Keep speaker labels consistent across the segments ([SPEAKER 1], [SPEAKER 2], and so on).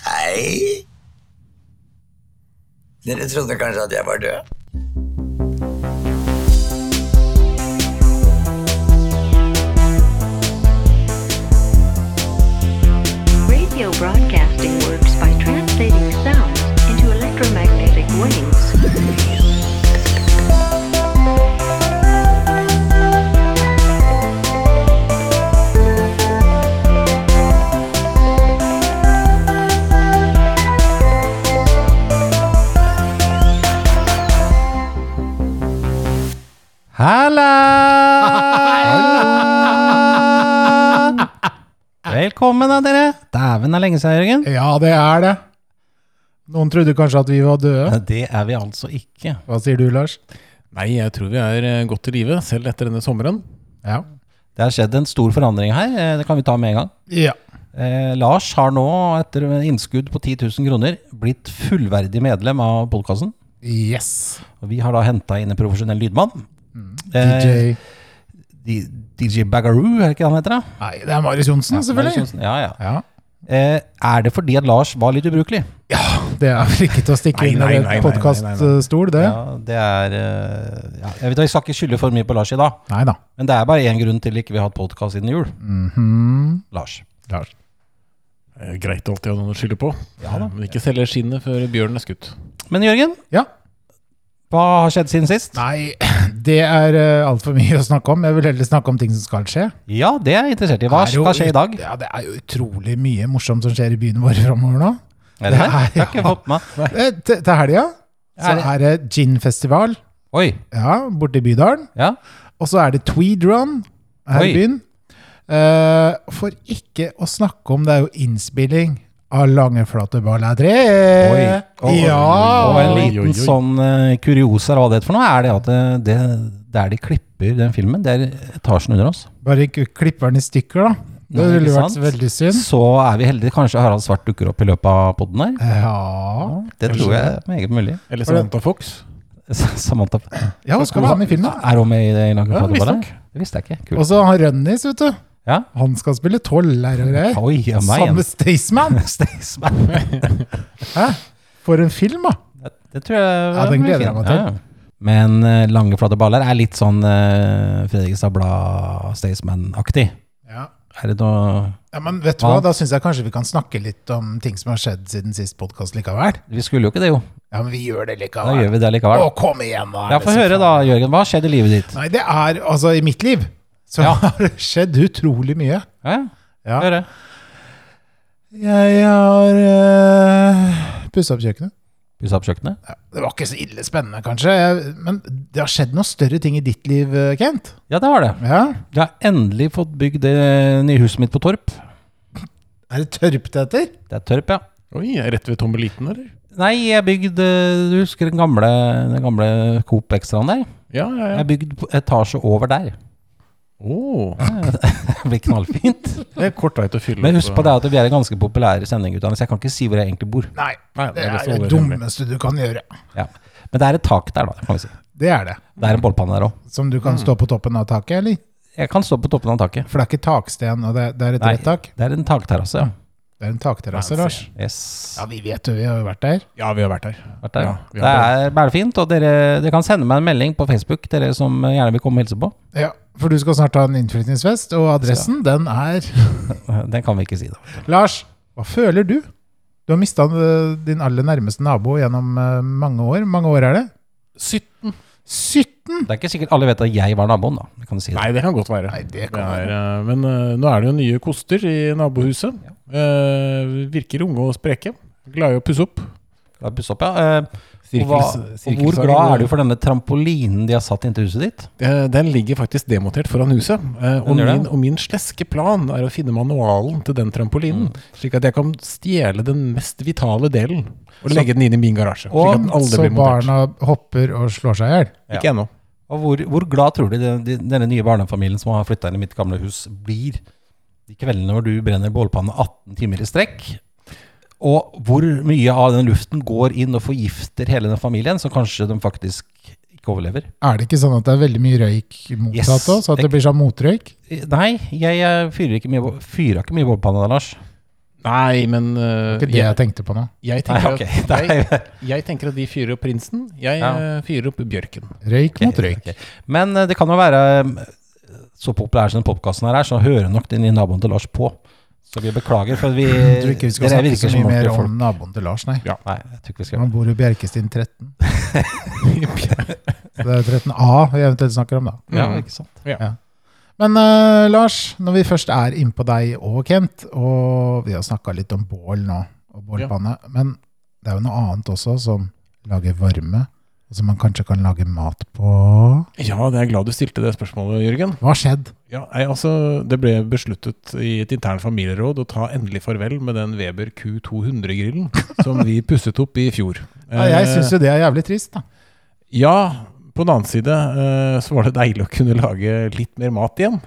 [SPEAKER 1] Hei! Dere trodde kanskje at jeg var død?
[SPEAKER 2] Radio broadcasting works by translating sounds into electromagnetic waves.
[SPEAKER 3] Halland! Velkommen da, dere. Dæven er lenge siden, Jørgen.
[SPEAKER 4] Ja, det er det. Noen trodde kanskje at vi var døde.
[SPEAKER 3] Det er vi altså ikke.
[SPEAKER 4] Hva sier du, Lars?
[SPEAKER 5] Nei, jeg tror vi er eh, godt i live, selv etter denne sommeren.
[SPEAKER 4] Ja.
[SPEAKER 3] Det har skjedd en stor forandring her. eh, Det kan vi ta med en gang.
[SPEAKER 4] ja.
[SPEAKER 3] Eh, Lars har nå, etter innskudd på 10 000 kroner, blitt fullverdig medlem av podkasten.
[SPEAKER 4] Yes.
[SPEAKER 3] Vi har da henta inn en profesjonell lydmann. Eh,
[SPEAKER 4] DJ
[SPEAKER 3] D- DJ Bagaroo, er det ikke han heter? da?
[SPEAKER 4] Nei, det er Marius Johnsen, selvfølgelig.
[SPEAKER 3] Ja, ja.
[SPEAKER 4] Ja.
[SPEAKER 3] Eh, Er det fordi at Lars var litt ubrukelig?
[SPEAKER 4] Det er vel ikke til å stikke
[SPEAKER 5] Nei,
[SPEAKER 4] under
[SPEAKER 5] nei,
[SPEAKER 4] en
[SPEAKER 5] nei, nei,
[SPEAKER 4] podkaststol, eh, det.
[SPEAKER 3] Ja, det er eh, ja. Jeg vet da, Vi skal ikke skylde for mye på Lars i dag.
[SPEAKER 4] Nei da.
[SPEAKER 3] Men det er bare én grunn til ikke vi har hatt podkast siden jul. Lars.
[SPEAKER 4] Lars.
[SPEAKER 5] Eh, Greit alltid å ha noen å skylde på.
[SPEAKER 3] Ja da.
[SPEAKER 5] Men ikke selge skinnet før bjørnen er skutt.
[SPEAKER 3] Men Jørgen,
[SPEAKER 4] Ja.
[SPEAKER 3] hva har skjedd siden sist?
[SPEAKER 4] Nei, det er eh, altfor mye å snakke om. Jeg vil heller snakke om ting som skal skje.
[SPEAKER 3] Ja, det er jeg interessert i. Hva
[SPEAKER 4] Det er jo
[SPEAKER 3] skal skje i dag?
[SPEAKER 4] Ja, Det er jo utrolig mye morsomt som skjer i byen vår framover nå.
[SPEAKER 3] Er det det? Det har
[SPEAKER 4] ja.
[SPEAKER 3] ikke jeg fått med meg.
[SPEAKER 4] Eh, Til til helga så
[SPEAKER 3] Er det-
[SPEAKER 4] er det ginfestival
[SPEAKER 3] Oi.
[SPEAKER 4] ja, borte i Bydalen.
[SPEAKER 3] Ja.
[SPEAKER 4] Og så er det Tweed Run her
[SPEAKER 3] Oi.
[SPEAKER 4] i byen. Eh, for ikke å snakke om det er jo innspilling av Langeflate Balla 3.
[SPEAKER 3] Og, og
[SPEAKER 4] ja!
[SPEAKER 3] en
[SPEAKER 5] Oi,
[SPEAKER 3] liten
[SPEAKER 5] oi, oi.
[SPEAKER 3] sånn eh, kuriosa eller hva det heter for noe, er det at eh, det, der de klipper den filmen, det er etasjen under oss.
[SPEAKER 4] Bare ikke klipper den i stykker, da. Det
[SPEAKER 3] Nei,
[SPEAKER 4] ville
[SPEAKER 3] ikke
[SPEAKER 4] vært
[SPEAKER 3] sant?
[SPEAKER 4] veldig synd.
[SPEAKER 3] Så er vi heldige. Kanskje Harald Svart dukker opp i løpet av podden her.
[SPEAKER 4] Ja,
[SPEAKER 3] Det tror jeg er meget mulig.
[SPEAKER 5] Eller Samantha Fox.
[SPEAKER 3] Samantha
[SPEAKER 4] ja hun skal være med i filmen.
[SPEAKER 3] er hun med i det i Lange
[SPEAKER 5] Ja,
[SPEAKER 3] Flate Baller?
[SPEAKER 5] visstnok.
[SPEAKER 3] Det visste jeg ikke.
[SPEAKER 4] Og
[SPEAKER 3] Kult.
[SPEAKER 4] så har Rønnis, vet du.
[SPEAKER 3] Ja.
[SPEAKER 4] Han skal spille toller og greier.
[SPEAKER 3] Oi, ja, meg igjen.
[SPEAKER 4] Samme Staysman.
[SPEAKER 3] Staysman.
[SPEAKER 4] Hæ? For en film, da.
[SPEAKER 3] Det, det tror jeg
[SPEAKER 4] Ja, den gleder jeg meg til.
[SPEAKER 3] Men eh, lange, flate baller er litt sånn eh, Fredrikstad Blad-Staysman-aktig.
[SPEAKER 4] Ja.
[SPEAKER 3] Er det noe
[SPEAKER 4] ja, Men vet du hva, da syns jeg kanskje vi kan snakke litt om ting som har skjedd siden sist podkast likevel.
[SPEAKER 3] Vi skulle jo ikke det, jo.
[SPEAKER 4] Ja, men vi gjør det
[SPEAKER 3] Da
[SPEAKER 4] likevel.
[SPEAKER 3] gjør vi det
[SPEAKER 4] Å,
[SPEAKER 3] likevel.
[SPEAKER 4] kom igjen, da! er
[SPEAKER 3] Ja,
[SPEAKER 4] det
[SPEAKER 3] Få
[SPEAKER 4] så
[SPEAKER 3] høre,
[SPEAKER 4] faen-
[SPEAKER 3] da, Jørgen. Hva skjedde i livet ditt?
[SPEAKER 4] Nei, det er altså i mitt liv så
[SPEAKER 3] Ja.
[SPEAKER 4] har det skjedd utrolig mye.
[SPEAKER 3] Ja,
[SPEAKER 4] Ja.
[SPEAKER 3] høre.
[SPEAKER 4] Jeg har uh, pussa opp kjøkkenet.
[SPEAKER 3] Pussa opp kjøkkenet?
[SPEAKER 4] Det var ikke så ille spennende, kanskje, jeg- men det har skjedd noen større ting i ditt liv, eh, Kent.
[SPEAKER 3] Ja, det har det.
[SPEAKER 4] Ja.
[SPEAKER 3] Jeg har endelig fått bygd det nye huset mitt på Torp.
[SPEAKER 4] Er det tørrpoteter?
[SPEAKER 3] Det er Torp, ja.
[SPEAKER 5] Oi, er jeg rett ved tommeliten, eller?
[SPEAKER 3] Nei, jeg bygde Du husker den gamle, den gamle Coop Extraen der?
[SPEAKER 5] Ja, ja,
[SPEAKER 3] Jeg
[SPEAKER 5] ja.
[SPEAKER 3] har bygd etasje over der.
[SPEAKER 5] Åh,
[SPEAKER 3] Det blir knallfint.
[SPEAKER 5] det er kort vei til å fylle
[SPEAKER 3] Men husk på
[SPEAKER 5] eh,
[SPEAKER 3] det at vi er en ganske populær sending, gutta, så jeg kan ikke si hvor jeg egentlig bor.
[SPEAKER 4] Nei.
[SPEAKER 5] Nei,
[SPEAKER 4] Det
[SPEAKER 5] best å
[SPEAKER 4] er
[SPEAKER 5] holde
[SPEAKER 4] det
[SPEAKER 5] hemmelig.
[SPEAKER 4] dummeste du kan gjøre.
[SPEAKER 3] Ja. Men det er et tak der, da. kan vi si.
[SPEAKER 4] Det er det.
[SPEAKER 3] Det er en bollpanne der òg.
[SPEAKER 4] Som du kan stå på toppen av taket, eller?
[SPEAKER 3] Jeg kan stå på toppen av taket.
[SPEAKER 4] For det er ikke taksten, og det, det er et
[SPEAKER 3] Nei,
[SPEAKER 4] rett tak.
[SPEAKER 3] det er en takterrasse, ja.
[SPEAKER 4] Det er en takterrasse,
[SPEAKER 5] Nei,
[SPEAKER 4] Lars.
[SPEAKER 3] Yes.
[SPEAKER 4] Ja, vi vet jo, vi har jo vært der.
[SPEAKER 5] Ja, vi har vært her.
[SPEAKER 3] Vært der.
[SPEAKER 5] Ja, vi
[SPEAKER 3] det
[SPEAKER 5] har
[SPEAKER 3] er bælfint, og dere, dere kan sende meg en melding på Facebook, dere som gjerne vil komme og hilse på.
[SPEAKER 4] Ja, For du skal snart ha en innflyttingsfest, og adressen, den er
[SPEAKER 3] Den kan vi ikke si, da.
[SPEAKER 4] Lars, hva føler du? Du har mista din aller nærmeste nabo gjennom eh, mange år. Mange år er det?
[SPEAKER 5] 17.
[SPEAKER 4] 17!
[SPEAKER 3] Det er ikke sikkert alle vet at jeg var naboen, da. Vi kan si det.
[SPEAKER 5] Nei, det kan godt være.
[SPEAKER 4] Nei, det
[SPEAKER 5] Det
[SPEAKER 4] kan
[SPEAKER 5] er, eh, men eh, nå er det jo nye koster i nabohuset. Eh, virker unge og spreke. Glad i å pusse opp.
[SPEAKER 3] Da Puss opp, ja. Eh, Og, hva,
[SPEAKER 5] Sirkels-
[SPEAKER 3] og hvor
[SPEAKER 5] sirkelsag
[SPEAKER 3] glad
[SPEAKER 5] og-
[SPEAKER 3] er du for denne trampolinen de har satt inntil huset ditt?
[SPEAKER 5] Eh, Den ligger faktisk demontert foran huset. eh, Og
[SPEAKER 3] Den gjør det.
[SPEAKER 5] min, og min sleske plan er å finne manualen til den trampolinen,
[SPEAKER 3] Mm.
[SPEAKER 5] slik at jeg kan stjele den mest vitale delen og legge den inn i min garasje.
[SPEAKER 3] Og
[SPEAKER 5] Slik at den aldri
[SPEAKER 4] Så
[SPEAKER 5] blir montert.
[SPEAKER 4] barna hopper og slår seg i hjel.
[SPEAKER 5] Ikke ennå.
[SPEAKER 3] Og hvor, hvor glad tror du de, de, denne nye barnefamilien som har flytta inn i mitt gamle hus, blir de kveldene hvor du brenner bålpanne 18 timer i strekk? Og hvor mye av den luften går inn og forgifter hele den familien, så kanskje de faktisk ikke overlever?
[SPEAKER 4] Er det ikke sånn at det er veldig mye røyk motsatt
[SPEAKER 3] Yes.
[SPEAKER 4] òg? Så at det blir sånn motrøyk?
[SPEAKER 3] Eh, Nei, jeg eh, fyrer ikke mye, bå- fyrer ikke mye bålpanne da, Lars.
[SPEAKER 5] Nei, men øh,
[SPEAKER 4] Det er
[SPEAKER 5] jeg,
[SPEAKER 4] ikke det jeg tenkte på nå.
[SPEAKER 5] jeg,
[SPEAKER 3] Nei,
[SPEAKER 5] tenker
[SPEAKER 3] ok.
[SPEAKER 5] at, jeg, jeg tenker at de fyrer opp prinsen. Jeg
[SPEAKER 3] Ja.
[SPEAKER 5] øh, fyrer opp bjørken.
[SPEAKER 4] Røyk
[SPEAKER 3] Ok,
[SPEAKER 4] mot røyk.
[SPEAKER 3] ok. Men eh, det kan jo være eh, så populær som podkasten her er, så hører nok den i naboen til Lars på. Så vi beklager, for vi,
[SPEAKER 4] Jeg tror ikke vi skal
[SPEAKER 3] dere
[SPEAKER 4] snakke
[SPEAKER 3] virker
[SPEAKER 4] så
[SPEAKER 3] som
[SPEAKER 4] mye mer
[SPEAKER 3] ordentlige folk.
[SPEAKER 4] om naboen til Lars, nei.
[SPEAKER 3] Nei, jeg tror ikke vi skal gjøre det.
[SPEAKER 4] Han bor i Bjerkestien 13. Så det er 13A vi eventuelt snakker om, da.
[SPEAKER 3] Ja,
[SPEAKER 5] Mm.
[SPEAKER 3] ikke sant.
[SPEAKER 4] Men eh, Lars, når vi først er innpå deg og Kent, og vi har snakka litt om bål nå, og bålpanne, men det er jo noe annet også som lager varme, og som man kanskje kan lage mat på.
[SPEAKER 5] Ja, det er glad du stilte det spørsmålet, Jørgen.
[SPEAKER 4] Hva har skjedd?
[SPEAKER 5] Ja, nei, altså, Det ble besluttet i et internt familieråd å ta endelig farvel med den Weber Q200-grillen som vi pusset opp i fjor.
[SPEAKER 4] Ja, jeg syns
[SPEAKER 5] Eh,
[SPEAKER 4] jo det er jævlig trist, da.
[SPEAKER 5] Ja, på den annen side eh, så var det deilig å kunne lage litt mer mat igjen.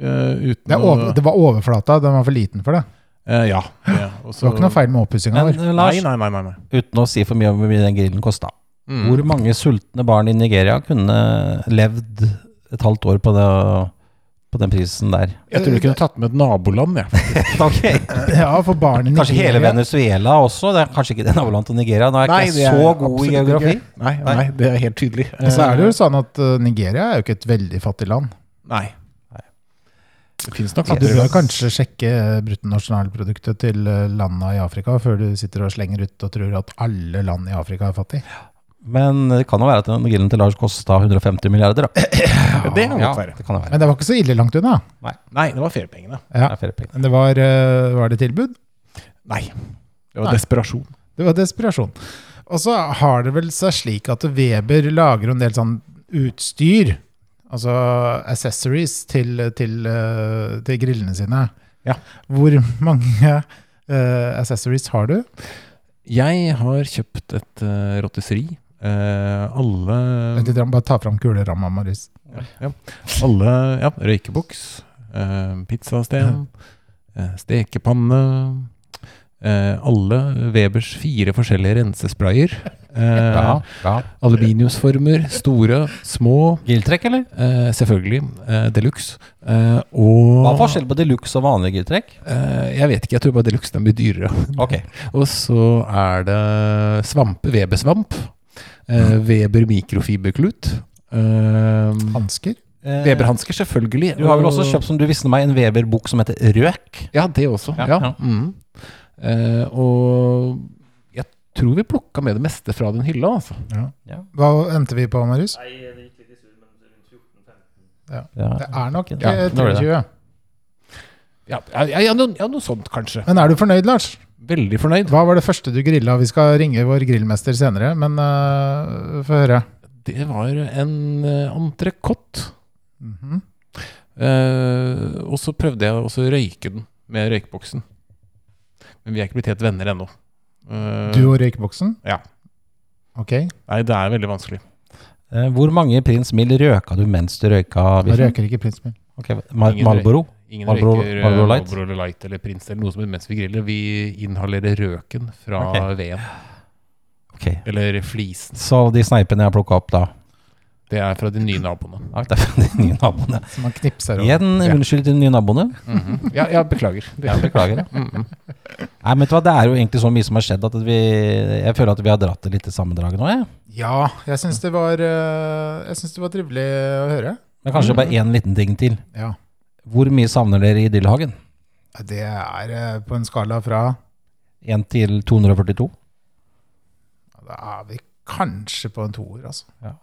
[SPEAKER 5] eh, uten
[SPEAKER 4] Det, er over,
[SPEAKER 5] å
[SPEAKER 4] det var overflata, den var for liten for det.
[SPEAKER 5] eh, Ja. ja, og
[SPEAKER 4] Det var ikke noe feil med oppussinga
[SPEAKER 3] Men
[SPEAKER 4] vår.
[SPEAKER 3] eh,
[SPEAKER 5] Nei,
[SPEAKER 3] Lars,
[SPEAKER 5] nei, nei. nei, nei.
[SPEAKER 3] uten å si for mye om hvor mye den grillen kosta,
[SPEAKER 5] Mm.
[SPEAKER 3] hvor mange sultne barn i Nigeria kunne levd et halvt år på, det, på den prisen der?
[SPEAKER 5] Jeg tror du kunne tatt med et naboland, jeg.
[SPEAKER 4] Ja, for barn i
[SPEAKER 3] eh, Kanskje hele
[SPEAKER 4] Nigeria.
[SPEAKER 3] Venezuela også? Det er kanskje ikke det nabolaget til Nigeria. Nå er jeg ikke
[SPEAKER 5] det er
[SPEAKER 3] så god
[SPEAKER 5] absolutt
[SPEAKER 3] i geografi.
[SPEAKER 5] ikke. Nei, nei, det er helt tydelig.
[SPEAKER 4] Og så er det jo sånn at eh, Nigeria er jo ikke et veldig fattig land.
[SPEAKER 5] Eh, Nei. Det finnes nok
[SPEAKER 4] Så du
[SPEAKER 5] andre
[SPEAKER 4] bør
[SPEAKER 5] land.
[SPEAKER 4] kanskje sjekke eh, bruttonasjonalproduktet til eh, landene i Afrika før du sitter og slenger ut og tror at alle land i Afrika er fattig.
[SPEAKER 3] Men det kan jo være at den grillen til Lars kosta 150 milliarder, da.
[SPEAKER 5] Det kan godt være.
[SPEAKER 3] det kan jo være.
[SPEAKER 4] Men det var ikke så ille langt unna.
[SPEAKER 5] Nei, det var feriepengene.
[SPEAKER 3] Det
[SPEAKER 4] Ja.
[SPEAKER 3] er feriepenger.
[SPEAKER 4] Men det var, eh, var det tilbud?
[SPEAKER 5] Nei. Det var
[SPEAKER 4] Nei.
[SPEAKER 5] desperasjon.
[SPEAKER 4] Det var desperasjon. Og så har det vel seg slik at Weber lager en del sånn utstyr, altså accessories, til, til, eh, til grillene sine.
[SPEAKER 5] Ja.
[SPEAKER 4] Hvor mange eh, accessories har du?
[SPEAKER 5] Jeg har kjøpt et eh, rotisserie. Eh, alle
[SPEAKER 4] Vent litt, bare ta fram kuleramma, Marius.
[SPEAKER 5] ja, Alle Ja, røykeboks, eh, pizzasten, eh, stekepanne eh, Alle Webers fire forskjellige rensesprayer. Eh,
[SPEAKER 3] Bra, bra.
[SPEAKER 5] Aluminiumsformer. Store, små.
[SPEAKER 3] Grilltrekk, eller?
[SPEAKER 5] Eh, selvfølgelig. Eh, Deluxe. Eh, og
[SPEAKER 3] Hva er forskjellen på deluxe og vanlig grilltrekk?
[SPEAKER 5] Eh, jeg vet ikke, jeg tror bare deluxe den blir dyrere.
[SPEAKER 3] Ok.
[SPEAKER 5] Og så er det svampe, Weber-svamp. Eh,
[SPEAKER 3] Mm.
[SPEAKER 5] Weber mikrofiberklut. Eh,
[SPEAKER 4] Hansker?
[SPEAKER 5] Weber-hansker, selvfølgelig.
[SPEAKER 3] Du har vel også
[SPEAKER 5] Og-
[SPEAKER 3] kjøpt, som du visste meg, en Weber-bok som heter Røk.
[SPEAKER 5] Ja, det også.
[SPEAKER 3] Ja,
[SPEAKER 5] Ja,
[SPEAKER 3] ja.
[SPEAKER 5] Mm. Eh, og jeg tror vi plukka med det meste fra den hylla, altså.
[SPEAKER 4] Hva endte vi på, Marius?
[SPEAKER 3] Ja.
[SPEAKER 4] Det er nok
[SPEAKER 3] Ja,
[SPEAKER 4] eh,
[SPEAKER 3] det var det.
[SPEAKER 4] 23.
[SPEAKER 5] Ja, ja, ja, ja, noe, ja noe sånt, kanskje.
[SPEAKER 4] Men er du fornøyd, Lars?
[SPEAKER 5] Veldig fornøyd.
[SPEAKER 4] Hva var det første du grilla? Vi skal ringe vår grillmester senere, men uh, få høre.
[SPEAKER 5] Det var en uh, entrecôte.
[SPEAKER 4] Mhm.
[SPEAKER 5] Eh, og så prøvde jeg også å røyke den med røykeboksen. Men vi er ikke blitt helt venner ennå. Eh,
[SPEAKER 4] Du og røykeboksen?
[SPEAKER 5] Ja.
[SPEAKER 4] Ok.
[SPEAKER 5] Nei, det er veldig vanskelig.
[SPEAKER 3] Eh, Hvor mange Prins Mill røka du mens du røyka
[SPEAKER 4] Da
[SPEAKER 3] biffen?
[SPEAKER 4] røyker ikke prins min.
[SPEAKER 3] Okay. Mar
[SPEAKER 5] Ingen røyk.
[SPEAKER 3] Marlboro?
[SPEAKER 5] Ingen
[SPEAKER 3] Marlboro-
[SPEAKER 5] røyker eh,
[SPEAKER 3] Marlboro Light?
[SPEAKER 5] Marlboro Light eller Prins eller noe som mens vi griller. Vi inhalerer røken fra
[SPEAKER 3] Ok.
[SPEAKER 5] veden.
[SPEAKER 3] Ok.
[SPEAKER 5] Eller flisen.
[SPEAKER 3] Så de sneipene jeg plukka opp da
[SPEAKER 5] Det er fra de nye naboene.
[SPEAKER 3] Ja, Det er fra de nye naboene.
[SPEAKER 4] Som man knipser over.
[SPEAKER 3] Igjen unnskyld til de nye naboene.
[SPEAKER 5] Mhm. ja, ja, beklager.
[SPEAKER 3] Ja, beklager. jeg.
[SPEAKER 5] Mhm.
[SPEAKER 3] Nei, men vet du hva, Det er jo egentlig så mye som har skjedd at vi, jeg føler at vi har dratt det litt i sammendraget nå. Jeg.
[SPEAKER 4] Ja, jeg syns det var eh, Jeg syns det var trivelig å høre.
[SPEAKER 3] Men kanskje bare én liten ting til.
[SPEAKER 4] Ja.
[SPEAKER 3] Hvor mye savner dere i Dillehagen?
[SPEAKER 4] Det er eh, på en skala fra
[SPEAKER 3] Én til 242?
[SPEAKER 4] Da er vi kanskje på en toer, altså.
[SPEAKER 3] Ja.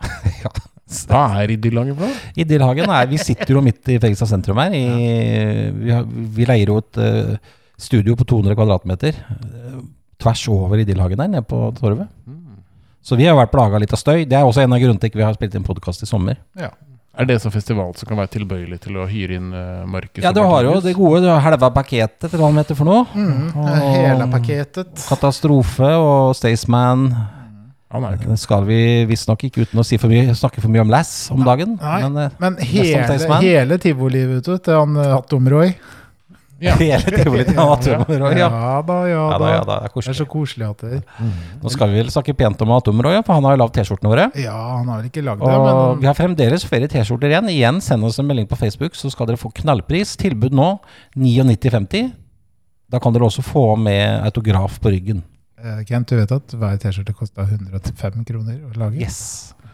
[SPEAKER 5] Hva er idyllangen for noe?
[SPEAKER 3] I Dillehagen er Vi sitter jo midt i Fredrikstad sentrum her. I, vi, har, vi leier jo et eh, studio på 200 kvadratmeter eh, tvers over i Dillehagen der, nede på torvet. Så vi har vært plaga litt av støy. Det er også en av grunnene til ikke vi har spilt inn podkast i sommer.
[SPEAKER 5] Er det så festival som kan være tilbøyelig til å hyre inn eh, Markus?
[SPEAKER 3] Ja,
[SPEAKER 5] og
[SPEAKER 3] du har jo
[SPEAKER 5] Martinus?
[SPEAKER 3] det gode. Du har Helva Paketet, eller hva han heter for noe.
[SPEAKER 4] Mm.
[SPEAKER 3] Og
[SPEAKER 4] Hele pakketet.
[SPEAKER 3] Katastrofe og Staysman.
[SPEAKER 5] Han er jo ikke
[SPEAKER 3] Det skal vi visstnok ikke uten å si for mye, snakke for mye om Lass om dagen.
[SPEAKER 4] Nei,
[SPEAKER 3] Men, eh,
[SPEAKER 4] men
[SPEAKER 3] Neste om
[SPEAKER 4] hele,
[SPEAKER 3] Staysman.
[SPEAKER 4] hele tivoliet til han eh, Hattum Roy.
[SPEAKER 5] Ja.
[SPEAKER 3] Hele tivoli til Atomroy, ja.
[SPEAKER 4] Ja da, ja
[SPEAKER 3] Ja da,
[SPEAKER 4] da.
[SPEAKER 3] ja da, det er
[SPEAKER 4] Det er
[SPEAKER 3] koselig.
[SPEAKER 4] så koselig at det
[SPEAKER 3] Nå skal vi vel snakke pent om Atomroy, ja, for han har jo lagd T-skjortene våre.
[SPEAKER 4] Ja, han har vel ikke lagd det,
[SPEAKER 3] Og vi
[SPEAKER 4] men
[SPEAKER 3] har fremdeles flere T-skjorter igjen. Igjen, send oss en melding på Facebook, så skal dere få knallpris. Tilbud nå 99,50. Da kan dere også få med autograf på ryggen.
[SPEAKER 4] Eh, Kent, du vet at hver T-skjorte kosta 105 kroner å lage?
[SPEAKER 3] Yes.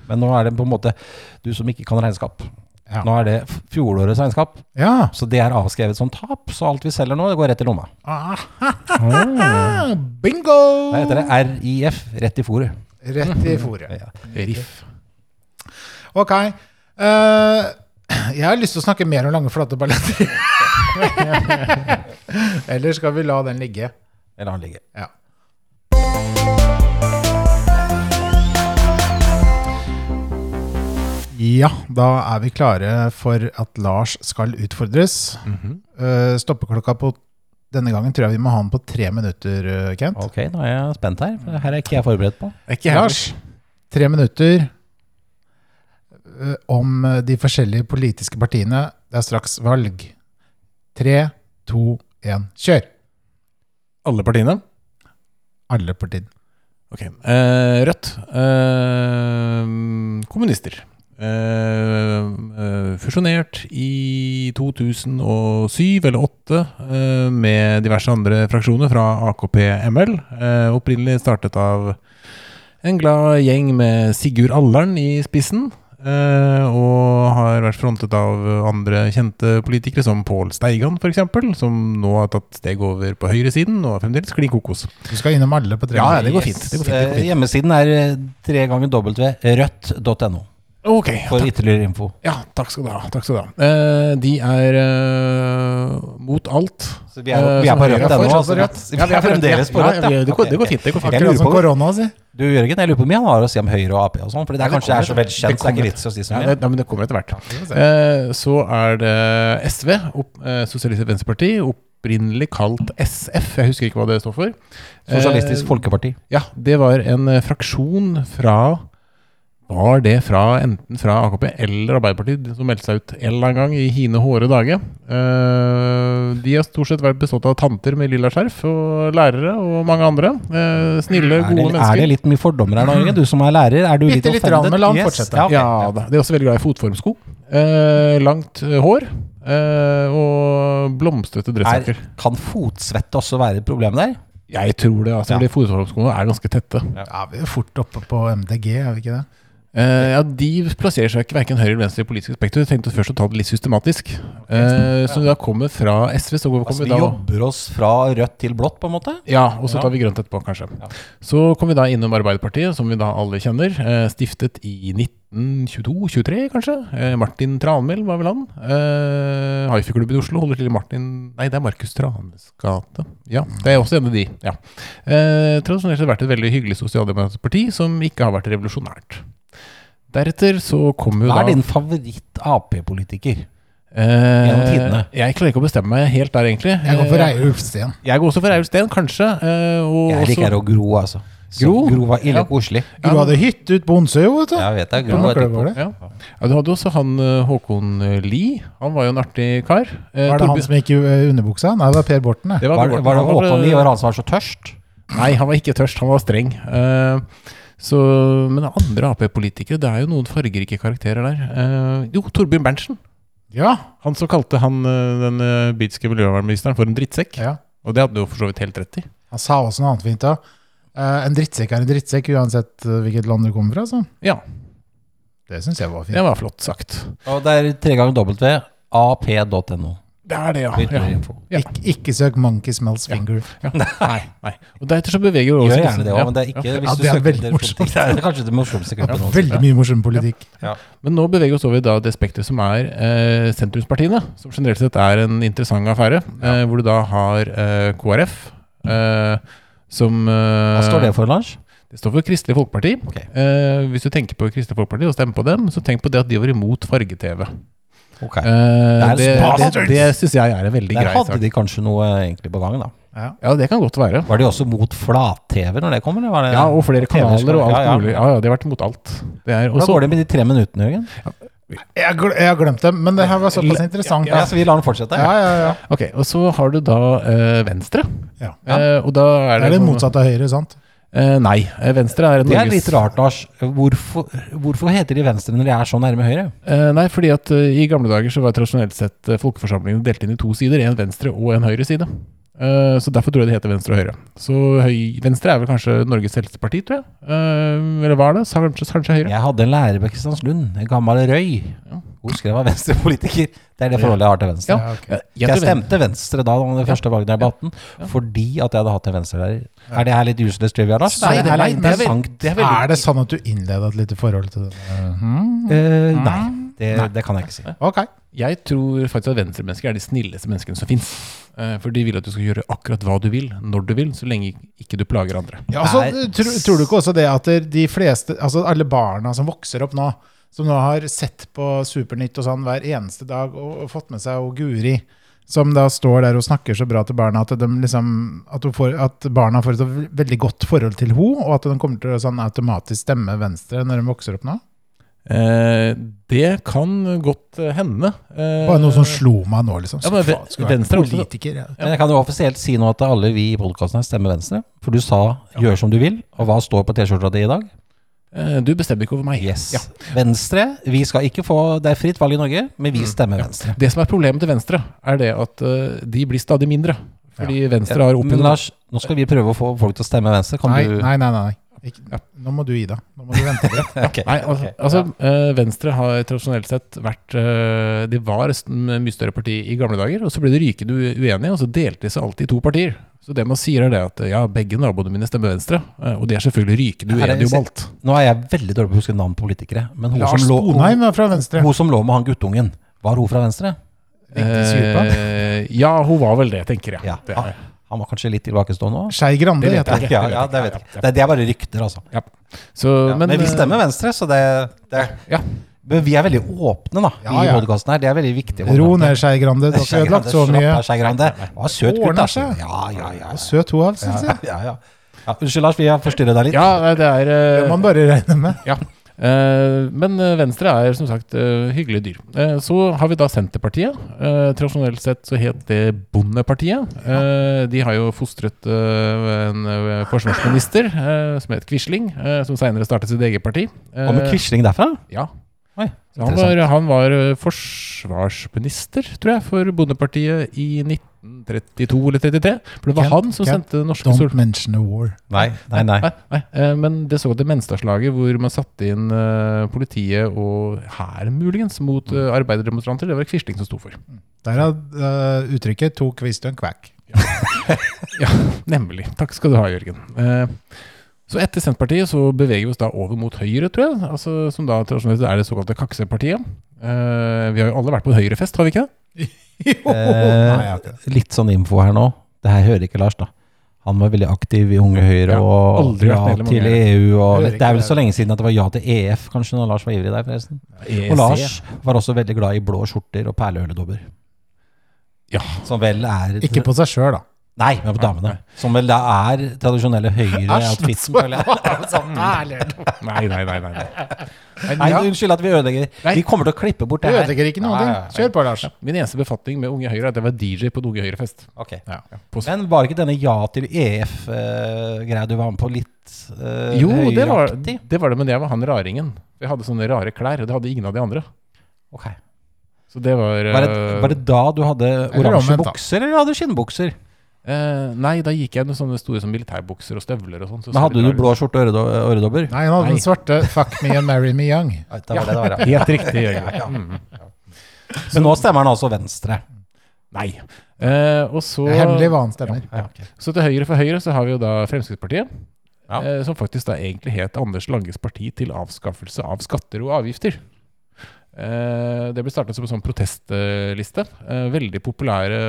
[SPEAKER 3] Men nå er det på en måte du som ikke kan regnskap.
[SPEAKER 4] Ja.
[SPEAKER 3] Nå er det f- fjorårets regnskap,
[SPEAKER 4] Ja!
[SPEAKER 3] så det er avskrevet som tap. Så alt vi selger nå, det går rett i lomma.
[SPEAKER 4] Ah,
[SPEAKER 3] Da heter
[SPEAKER 4] bingo!
[SPEAKER 3] det RIF, rett i fôret.
[SPEAKER 4] Rett i fòret.
[SPEAKER 3] Ja.
[SPEAKER 5] Riff.
[SPEAKER 4] Ok. eh, jeg har lyst til å snakke mer om lange, flate balletter. Eller skal vi la den ligge?
[SPEAKER 3] Eller han ligger.
[SPEAKER 4] Ja. Ja, da er vi klare for at Lars skal utfordres. Eh, stoppeklokka på denne gangen tror jeg vi må ha den på tre minutter, eh, Kent.
[SPEAKER 3] Ok, nå er jeg spent her. for Her er ikke jeg forberedt på.
[SPEAKER 4] Ikke Lars. Tre minutter eh, om eh, de forskjellige politiske partiene. Det er straks valg. Tre, to, én, kjør!
[SPEAKER 5] Alle partiene?
[SPEAKER 4] Alle partiene.
[SPEAKER 5] Ok. Eh, Rødt. Eh, kommunister. Eh, eh, fusjonert i 2007 eller 2008 eh, med diverse andre fraksjoner fra AKP ML. Eh, opprinnelig startet av en glad gjeng med Sigurd Allern i spissen. eh, og har vært frontet av andre kjente politikere, som Pål Steigan f.eks., som nå har tatt steg over på høyresiden og er fremdeles klin kokos.
[SPEAKER 4] Du skal innom alle på tre
[SPEAKER 5] Ja, ja,
[SPEAKER 4] minutter.
[SPEAKER 5] det går fint. Det går fint, det går
[SPEAKER 3] Eh,
[SPEAKER 5] fint.
[SPEAKER 3] Hjemmesiden er eh, tre ganger www.rødt.no
[SPEAKER 5] Ok,
[SPEAKER 3] for ytterligere info.
[SPEAKER 5] Ja, takk skal du ha. Takk skal du ha. Eh, de er eh, mot alt.
[SPEAKER 3] Så vi er, vi er på
[SPEAKER 5] Eh,
[SPEAKER 3] rødt
[SPEAKER 5] som
[SPEAKER 3] ennå.
[SPEAKER 5] Høyre er for,
[SPEAKER 3] Altså,
[SPEAKER 5] så
[SPEAKER 3] rødt.
[SPEAKER 5] Rødt.
[SPEAKER 3] Vi er fremdeles på
[SPEAKER 5] Ja,
[SPEAKER 3] rødt.
[SPEAKER 5] ja, vi-
[SPEAKER 3] ja.
[SPEAKER 5] det, går, det går fint. det går fint.
[SPEAKER 3] Jeg lurer
[SPEAKER 4] Akkurat som
[SPEAKER 3] på-
[SPEAKER 4] korona, si.
[SPEAKER 3] Du Jørgen, jeg lurer på hvor mye han har å si om Høyre og Ap og sånn. For det er
[SPEAKER 5] Ja, det
[SPEAKER 3] kanskje det er så
[SPEAKER 5] kommer.
[SPEAKER 3] vel kjent, så det er
[SPEAKER 5] Det kommer.
[SPEAKER 3] ikke vits å si så
[SPEAKER 5] Ja,
[SPEAKER 3] mye.
[SPEAKER 5] det, sånn ja, men det kommer etter hvert.
[SPEAKER 4] vi får se.
[SPEAKER 5] Eh, så er det SV, opp, eh, Sosialistisk Venstreparti, opprinnelig kalt SF. Jeg husker ikke hva det står for. Eh,
[SPEAKER 3] Sosialistisk Folkeparti.
[SPEAKER 5] Ja, det var en eh, fraksjon fra Var det fra enten fra AKP eller Arbeiderpartiet som meldte seg ut en eller annen gang i hine hårde dage? Eh, de har stort sett vært bestått av tanter med lilla skjerf og lærere og mange andre. Eh, snille,
[SPEAKER 3] Er det,
[SPEAKER 5] gode
[SPEAKER 3] er det
[SPEAKER 5] mennesker.
[SPEAKER 3] litt mye fordommer her nå, Jørgen? Du som er lærer, er du litt
[SPEAKER 4] Bitte lite grann,
[SPEAKER 3] offended?
[SPEAKER 4] men la han fortsette.
[SPEAKER 3] Ja, ok.
[SPEAKER 5] Ja da. De er også veldig glad i fotformsko. Eh, langt eh, hår eh, og blomstrete
[SPEAKER 3] Er,
[SPEAKER 5] dressjakker.
[SPEAKER 3] kan fotsvette også være et problem der?
[SPEAKER 5] Jeg tror det, altså.
[SPEAKER 3] Ja.
[SPEAKER 5] fordi Fotformskoene er ganske tette.
[SPEAKER 4] Ja, vi er fort oppe på MDG, er vi ikke det?
[SPEAKER 5] Eh, ja, De plasserer seg ikke hverken høyre eller venstre i politisk spektrum. Jeg tenkte først å ta det litt systematisk. Eh, så da kommer fra SV, så kommer
[SPEAKER 3] Altså,
[SPEAKER 5] vi
[SPEAKER 3] vi
[SPEAKER 5] da
[SPEAKER 3] jobber oss fra rødt til blått, på en måte?
[SPEAKER 5] ja, og så
[SPEAKER 3] Ja.
[SPEAKER 5] tar vi grønt etterpå, kanskje.
[SPEAKER 3] Ja.
[SPEAKER 5] Så kommer vi da innom Arbeiderpartiet, som vi da alle kjenner. Eh, stiftet i 1922-23, kanskje. Eh, Martin Tranmæl var vel han. Eh, Hifi-klubben i Oslo holder til i Martin Nei, det er Markus Tranes gate. Ja, det er også en av de. ja. Eh, tradisjonelt har det vært et veldig hyggelig sosialdemokratisk parti, som ikke har vært revolusjonært. Deretter så kommer jo
[SPEAKER 3] Hva
[SPEAKER 5] da
[SPEAKER 3] er din favoritt-Ap-politiker?
[SPEAKER 5] Gjennom
[SPEAKER 3] tidene.
[SPEAKER 5] Jeg klarer ikke å bestemme meg helt der, egentlig.
[SPEAKER 4] Jeg går for
[SPEAKER 5] Eh,
[SPEAKER 4] Reiulf Steen.
[SPEAKER 5] Jeg går også for Reiulf Steen, kanskje. eh, og
[SPEAKER 3] Jeg liker
[SPEAKER 5] også,
[SPEAKER 3] å gro, altså. Så
[SPEAKER 5] Gro?
[SPEAKER 3] gro var ille
[SPEAKER 5] Ja.
[SPEAKER 3] koselig.
[SPEAKER 4] Du hadde hytte ut på Onsøy, vet du.
[SPEAKER 3] Jeg vet det. Gro
[SPEAKER 4] På
[SPEAKER 3] var
[SPEAKER 4] Nøkkelgård,
[SPEAKER 3] etterpå.
[SPEAKER 4] det.
[SPEAKER 5] ja. ja, Du hadde også han eh, Håkon eh, Lie. Han var jo en artig kar. Eh,
[SPEAKER 4] Var det han
[SPEAKER 5] Torbjørn-
[SPEAKER 4] som gikk i eh, underbuksa? Nei, det var Per Borten. Det.
[SPEAKER 5] Det var,
[SPEAKER 3] Var,
[SPEAKER 5] Borten.
[SPEAKER 3] var det
[SPEAKER 5] Han var,
[SPEAKER 3] Håkon Lie
[SPEAKER 5] eh,
[SPEAKER 3] var han som var så tørst?
[SPEAKER 5] Nei, han var ikke tørst. Han var streng. Eh, så, men andre Ap-politikere, det er jo noen fargerike karakterer der. Eh, jo, Torbjørn Berntsen.
[SPEAKER 4] Ja.
[SPEAKER 5] Han som kalte han eh, den eh, britiske miljøvernministeren for en drittsekk.
[SPEAKER 4] ja.
[SPEAKER 5] Og det hadde du jo for så vidt helt rett i.
[SPEAKER 4] Han sa også noe annet fint da. Eh, en drittsekk er en drittsekk uansett eh, hvilket land du kommer fra. Så.
[SPEAKER 5] Ja,
[SPEAKER 4] Det syns jeg var fint.
[SPEAKER 5] det var flott sagt.
[SPEAKER 3] Og det er tre ganger dobbelt ved ap.no.
[SPEAKER 5] Det er det, ja.
[SPEAKER 3] for ytterligere
[SPEAKER 5] ja.
[SPEAKER 3] info.
[SPEAKER 5] Ja.
[SPEAKER 4] Ik ikke søk 'monkey smells finger'.
[SPEAKER 5] Ja. Nei, nei. Og deretter så beveger vi
[SPEAKER 3] Gjør
[SPEAKER 5] oss
[SPEAKER 3] gjerne det òg,
[SPEAKER 5] Ja,
[SPEAKER 3] men det er ikke
[SPEAKER 5] ja.
[SPEAKER 3] hvis du
[SPEAKER 4] det er
[SPEAKER 3] søker
[SPEAKER 4] veldig
[SPEAKER 3] etter
[SPEAKER 4] morsomt.
[SPEAKER 3] politikk. Det er kanskje det morsomste klippet
[SPEAKER 4] Veldig mye morsom politikk.
[SPEAKER 5] Men nå beveger vi oss over i da det spekteret som er eh, sentrumspartiene, som generelt sett er en interessant affære, eh, hvor du da har eh, KrF, eh, som eh,
[SPEAKER 3] Hva står det for, Lars?
[SPEAKER 5] Det står for Kristelig Folkeparti.
[SPEAKER 3] Ok.
[SPEAKER 5] Eh, hvis du tenker på Kristelig Folkeparti og stemmer på dem, så tenk på det at de var imot farge-TV.
[SPEAKER 3] Ok.
[SPEAKER 5] Eh, det det, det,
[SPEAKER 3] bastards!
[SPEAKER 5] det syns jeg er en veldig
[SPEAKER 3] Der
[SPEAKER 5] grei
[SPEAKER 3] hadde
[SPEAKER 5] sak.
[SPEAKER 3] de kanskje noe eh, egentlig på gang, da.
[SPEAKER 4] Ja.
[SPEAKER 5] Ja, det kan godt være.
[SPEAKER 3] Var de også mot flat-TV når det kom? Eller var det
[SPEAKER 5] Ja, og flere
[SPEAKER 3] TV -skole?
[SPEAKER 5] kanaler og alt
[SPEAKER 3] Eh, Ja, ja.
[SPEAKER 5] mulig. Ja, ja, De har vært imot alt. Det er
[SPEAKER 3] Hvordan
[SPEAKER 5] også-
[SPEAKER 3] går det med de tre minuttene, Jørgen?
[SPEAKER 4] Jeg, gl jeg har glemt det, men det her var såpass interessant.
[SPEAKER 3] Ja, så vi lar den fortsette.
[SPEAKER 4] Ja, ja, ja.
[SPEAKER 5] Ok, og så har du da eh, Venstre.
[SPEAKER 4] ja.
[SPEAKER 5] Eh, og da er
[SPEAKER 4] Det
[SPEAKER 5] det,
[SPEAKER 4] er det
[SPEAKER 5] sånn-
[SPEAKER 4] motsatte av høyre, sant?
[SPEAKER 5] Eh, nei, eh, Venstre er
[SPEAKER 3] Det er litt rart, Lars. Hvorfor, hvorfor heter de Venstre når de er så nærme Høyre?
[SPEAKER 5] Eh, nei, fordi at eh, i gamle dager så var tradisjonelt sett eh, folkeforsamlingene delt inn i to sider. En venstre og en høyre side. Eh, Så derfor tror jeg det heter Venstre og Høyre. Så høy, Venstre er vel kanskje Norges eldste parti, tror jeg. Eh, Eller hva er det? Så Kanskje, kanskje Høyre?
[SPEAKER 3] Jeg hadde en lærer på Kristiansund, en gammel røy.
[SPEAKER 5] Ja.
[SPEAKER 3] Hun skrev av venstrepolitiker. Det er det forholdet jeg har til Venstre.
[SPEAKER 5] Ja.
[SPEAKER 4] ok.
[SPEAKER 5] Jeg,
[SPEAKER 3] Jeg
[SPEAKER 5] tror Ven-
[SPEAKER 3] stemte Venstre da om det første valget da jeg var 18, fordi at jeg hadde hatt en venstrelærer. Er det her litt useless trivia, Lars?
[SPEAKER 4] Nei, det
[SPEAKER 3] veldig
[SPEAKER 4] er litt- det er
[SPEAKER 5] veldig-
[SPEAKER 3] interessant.
[SPEAKER 5] det er veldig- Mm.
[SPEAKER 4] Er det sånn at du innleda et lite forhold til det?
[SPEAKER 3] Eh, nei, det, det kan jeg ikke si.
[SPEAKER 4] Ok.
[SPEAKER 5] jeg tror faktisk at venstremennesker er de snilleste menneskene som fins. For de vil at du skal gjøre akkurat hva du vil, når du vil, så lenge ikke du plager andre.
[SPEAKER 4] Ja, altså,
[SPEAKER 3] Nei.
[SPEAKER 4] tro, tror du ikke også det at de fleste, altså alle barna som vokser opp nå, som nå har sett på Supernytt og sånn hver eneste dag og, og fått med seg og Guri, som da står der og snakker så bra til barna at, de liksom, at, hun får, at barna får et så ve- veldig godt forhold til henne, og at de kommer til å sånn automatisk stemme venstre når de vokser opp nå?
[SPEAKER 5] Eh, Det kan godt eh, hende. Eh,
[SPEAKER 4] Bare noe som slo meg nå, liksom.
[SPEAKER 5] Ja,
[SPEAKER 4] Så
[SPEAKER 5] men ve-
[SPEAKER 4] faen, skulle vært
[SPEAKER 5] Venstre er også-
[SPEAKER 4] politiker. Ja.
[SPEAKER 3] Men jeg kan jo offisielt si nå at alle vi i podkasten her stemmer Venstre. For du sa 'gjør som du vil', og hva står på T-skjorta di i dag?
[SPEAKER 5] eh, Du bestemmer ikke over meg.
[SPEAKER 3] Yes.
[SPEAKER 5] Ja.
[SPEAKER 3] Venstre. Vi skal ikke få Det er fritt valg i Norge, men
[SPEAKER 5] Mm.
[SPEAKER 3] vi stemmer Venstre.
[SPEAKER 5] Det som er problemet til Venstre, er det at eh, de blir stadig mindre. Fordi Venstre har
[SPEAKER 3] Men
[SPEAKER 5] oppunder
[SPEAKER 3] Lars, nå skal vi prøve å få folk til å stemme Venstre. Kan
[SPEAKER 4] Nei,
[SPEAKER 3] du
[SPEAKER 4] nei, nei. nei. Ikke, nå må du gi deg. Nå må du vente litt.
[SPEAKER 3] Ok,
[SPEAKER 5] Nei, al
[SPEAKER 3] ok.
[SPEAKER 5] altså eh, Venstre har tradisjonelt sett vært eh, De var et mye større parti i gamle dager, og så ble de rykende u- uenige, og så delte de seg alltid i to partier. Så det man sier er det at eh, ja, begge naboene mine stemmer Venstre, eh, og de er selvfølgelig rykende
[SPEAKER 3] Er det-
[SPEAKER 5] uenige om alt.
[SPEAKER 3] Nå er jeg veldig dårlig på å huske navn på politikere. Men hun,
[SPEAKER 4] Lars
[SPEAKER 3] som lå, hun,
[SPEAKER 4] Sponheim er fra Venstre.
[SPEAKER 3] hun som lå med han guttungen, var hun fra Venstre?
[SPEAKER 4] Riktig super.
[SPEAKER 5] Eh, ja, hun var vel det, tenker jeg.
[SPEAKER 3] Ja.
[SPEAKER 5] Det
[SPEAKER 3] Han,
[SPEAKER 5] er-
[SPEAKER 3] han var kanskje litt tilbakestående òg?
[SPEAKER 4] Skei Grande
[SPEAKER 5] Det vet
[SPEAKER 4] heter
[SPEAKER 5] jeg ikke.
[SPEAKER 3] Ja, ja, det vet jeg. ikke. Det, det er bare rykter, altså.
[SPEAKER 5] Ja. Så,
[SPEAKER 3] Ja, men, vi
[SPEAKER 5] eh,
[SPEAKER 3] stemmer Venstre, så det, det
[SPEAKER 5] Ja.
[SPEAKER 3] Men vi er veldig åpne, da,
[SPEAKER 4] Ja,
[SPEAKER 3] i
[SPEAKER 4] ja.
[SPEAKER 3] podkasten her. Det er veldig viktig.
[SPEAKER 4] Ro ned, Skei Grande. Du har ikke
[SPEAKER 3] Skei Grande,
[SPEAKER 4] ødelagt så
[SPEAKER 3] slapp
[SPEAKER 4] mye.
[SPEAKER 3] av, Skei Grande. Det var søt gutt,
[SPEAKER 4] Ordner
[SPEAKER 3] altså.
[SPEAKER 4] seg.
[SPEAKER 3] Ja, ja, ja.
[SPEAKER 4] Søt hun, altså. synes jeg.
[SPEAKER 3] ja, ja. ja unnskyld, Lars, vi har forstyrret deg litt.
[SPEAKER 5] Ja, nei, det er eh,
[SPEAKER 4] Det må man bare regne med.
[SPEAKER 5] Ja. Eh, men eh, Venstre er som sagt eh, hyggelige dyr. Eh, så har vi da Senterpartiet. Eh, tradisjonelt sett så het det Bondepartiet. Eh, de har jo fostret eh, en eh, forsvarsminister eh, som het Quisling, eh, som seinere startet sitt eget parti. Eh,
[SPEAKER 3] Og med Quisling derfra?
[SPEAKER 5] ja.
[SPEAKER 3] Oi,
[SPEAKER 5] Så han, var, han var eh, forsvarsminister, tror jeg, for Bondepartiet i 1932 eller 33. For det var
[SPEAKER 4] Kent-
[SPEAKER 5] han som
[SPEAKER 4] Kent,
[SPEAKER 5] sendte norske sol...
[SPEAKER 4] Don't mention a war.
[SPEAKER 3] Nei, nei, nei.
[SPEAKER 5] Nei, nei. eh, Men det såkalte Menstadslaget, hvor man satte inn eh, politiet og hæren muligens mot eh, arbeiderdemonstranter, det var det Quisling som sto for.
[SPEAKER 4] Der er eh, uttrykket 'to kvist og en kvekk'.
[SPEAKER 5] Ja, nemlig. Takk skal du ha, Jørgen. Eh, Så etter Senterpartiet så beveger vi oss da over mot Høyre, tror jeg. Altså, som da tradisjonelt er det såkalte kaksepartiet. Eh, vi har jo alle vært på en Høyrefest, har vi ikke det?
[SPEAKER 4] Nei, jeg har ikke det.
[SPEAKER 3] Eh, Litt sånn info her nå. Det her hører ikke Lars, da. Han var veldig aktiv i Unge Høyre
[SPEAKER 5] Ja,
[SPEAKER 3] og
[SPEAKER 5] aldri vært
[SPEAKER 3] ja
[SPEAKER 5] medlem av
[SPEAKER 3] til
[SPEAKER 5] Unge
[SPEAKER 3] EU. Og
[SPEAKER 4] Hører
[SPEAKER 3] det er vel
[SPEAKER 4] ikke
[SPEAKER 3] så lenge siden at det var ja til EF, kanskje, når Lars var ivrig der, forresten.
[SPEAKER 5] EEC.
[SPEAKER 3] Og Lars var også veldig glad i blå skjorter og perleøledobber.
[SPEAKER 5] Ja.
[SPEAKER 3] Som vel er
[SPEAKER 4] Ikke på seg sjøl, da.
[SPEAKER 3] Nei, men på damene. Som vel da er tradisjonelle Høyre-outfitsen, føler jeg.
[SPEAKER 5] Nei, nei, nei. nei, nei.
[SPEAKER 3] Nei,
[SPEAKER 4] Ja.
[SPEAKER 3] unnskyld at vi ødelegger.
[SPEAKER 5] Nei.
[SPEAKER 3] Vi kommer til å klippe bort
[SPEAKER 4] Du
[SPEAKER 3] det her.
[SPEAKER 4] ødelegger ikke noen
[SPEAKER 3] Nei,
[SPEAKER 4] ting.
[SPEAKER 3] nei, nei.
[SPEAKER 4] Kjør på, Lars.
[SPEAKER 5] Min eneste befatning med Unge Høyre er at jeg var DJ på en Unge Høyre-fest.
[SPEAKER 3] Ok.
[SPEAKER 5] Ja. På
[SPEAKER 3] Men var ikke denne ja til E EF-greia du var med på litt uh,
[SPEAKER 5] Jo, det var,
[SPEAKER 3] høyreaktig?
[SPEAKER 5] det var det, men jeg var han raringen. Jeg hadde sånne rare klær, og det hadde ingen av de andre.
[SPEAKER 3] Ok.
[SPEAKER 5] Så det var
[SPEAKER 3] Var, det, var det da du hadde oransje
[SPEAKER 4] omvendt, da.
[SPEAKER 3] bukser, eller hadde du skinnbukser?
[SPEAKER 5] eh, Nei, da gikk jeg med sånne store som militærbukser og støvler og sånn. så
[SPEAKER 3] Men
[SPEAKER 5] så
[SPEAKER 3] hadde du
[SPEAKER 5] litt
[SPEAKER 3] blå skjorte og øredo- øredobber?
[SPEAKER 4] Nei, han hadde den svarte 'fuck me and marry me young'.
[SPEAKER 3] Nei, det var det det var, ja.
[SPEAKER 5] Helt riktig. Jørgen. Mm.
[SPEAKER 3] Men nå stemmer han altså Venstre.
[SPEAKER 5] Nei. Eh, og så,
[SPEAKER 4] Det er hemmelig hva han stemmer.
[SPEAKER 5] så til høyre for høyre så har vi jo da Fremskrittspartiet.
[SPEAKER 3] Ja.
[SPEAKER 5] Eh, som faktisk da egentlig het Anders Langes parti til avskaffelse av skatter og avgifter. Eh, det ble startet som en sånn protestliste. Eh, veldig populære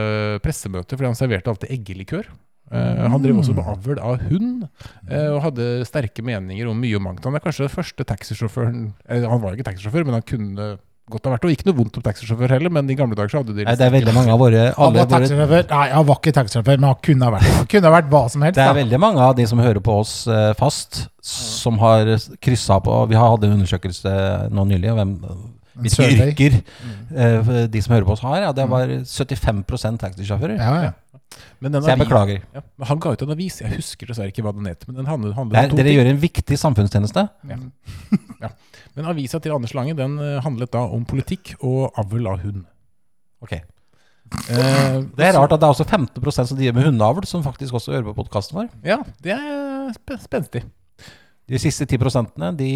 [SPEAKER 5] pressemøter, fordi han serverte alltid eggelikør. Eh, han drev også med avl av hund, eh, og hadde sterke meninger om mye og mangt. Han er kanskje den første taxisjåføren eh, Han var jo ikke taxisjåfør, men han kunne godt ha vært det. Og ikke noe vondt om taxisjåfør heller, men i gamle dager så hadde de
[SPEAKER 3] Nei, det er veldig mange av våre,
[SPEAKER 4] Han
[SPEAKER 3] alle
[SPEAKER 4] var
[SPEAKER 3] våre
[SPEAKER 4] taxisjåfør. Nei, han var ikke taxisjåfør, men han kunne ha vært det. Han kunne ha vært hva som helst.
[SPEAKER 3] Det er
[SPEAKER 4] Da.
[SPEAKER 3] veldig mange av de som hører på oss eh, fast, som har kryssa på Vi har hatt en undersøkelse nå nylig om hvem, hvilke
[SPEAKER 4] survey. Mm.
[SPEAKER 3] yrker eh, de som hører på oss, har. Ja, det var 75 taxisjåfører.
[SPEAKER 4] Ja, ja.
[SPEAKER 5] Men den
[SPEAKER 3] Så jeg
[SPEAKER 5] avi-
[SPEAKER 3] beklager.
[SPEAKER 5] Ja, men han ga ut en avis, jeg husker dessverre ikke hva den het. Men den handlet, handlet
[SPEAKER 3] Det
[SPEAKER 5] om
[SPEAKER 3] er,
[SPEAKER 5] to
[SPEAKER 3] dere
[SPEAKER 5] ting.
[SPEAKER 3] gjør en viktig samfunnstjeneste.
[SPEAKER 5] Men avisa til Anders Lange den eh, handlet da om politikk og avl av hund.
[SPEAKER 3] Ok.
[SPEAKER 5] Eh,
[SPEAKER 3] Det er rart at det er også 15 som driver med hundeavl, som faktisk også hører på podkasten vår.
[SPEAKER 5] Ja, det er sp spenstig.
[SPEAKER 3] De siste 10 de,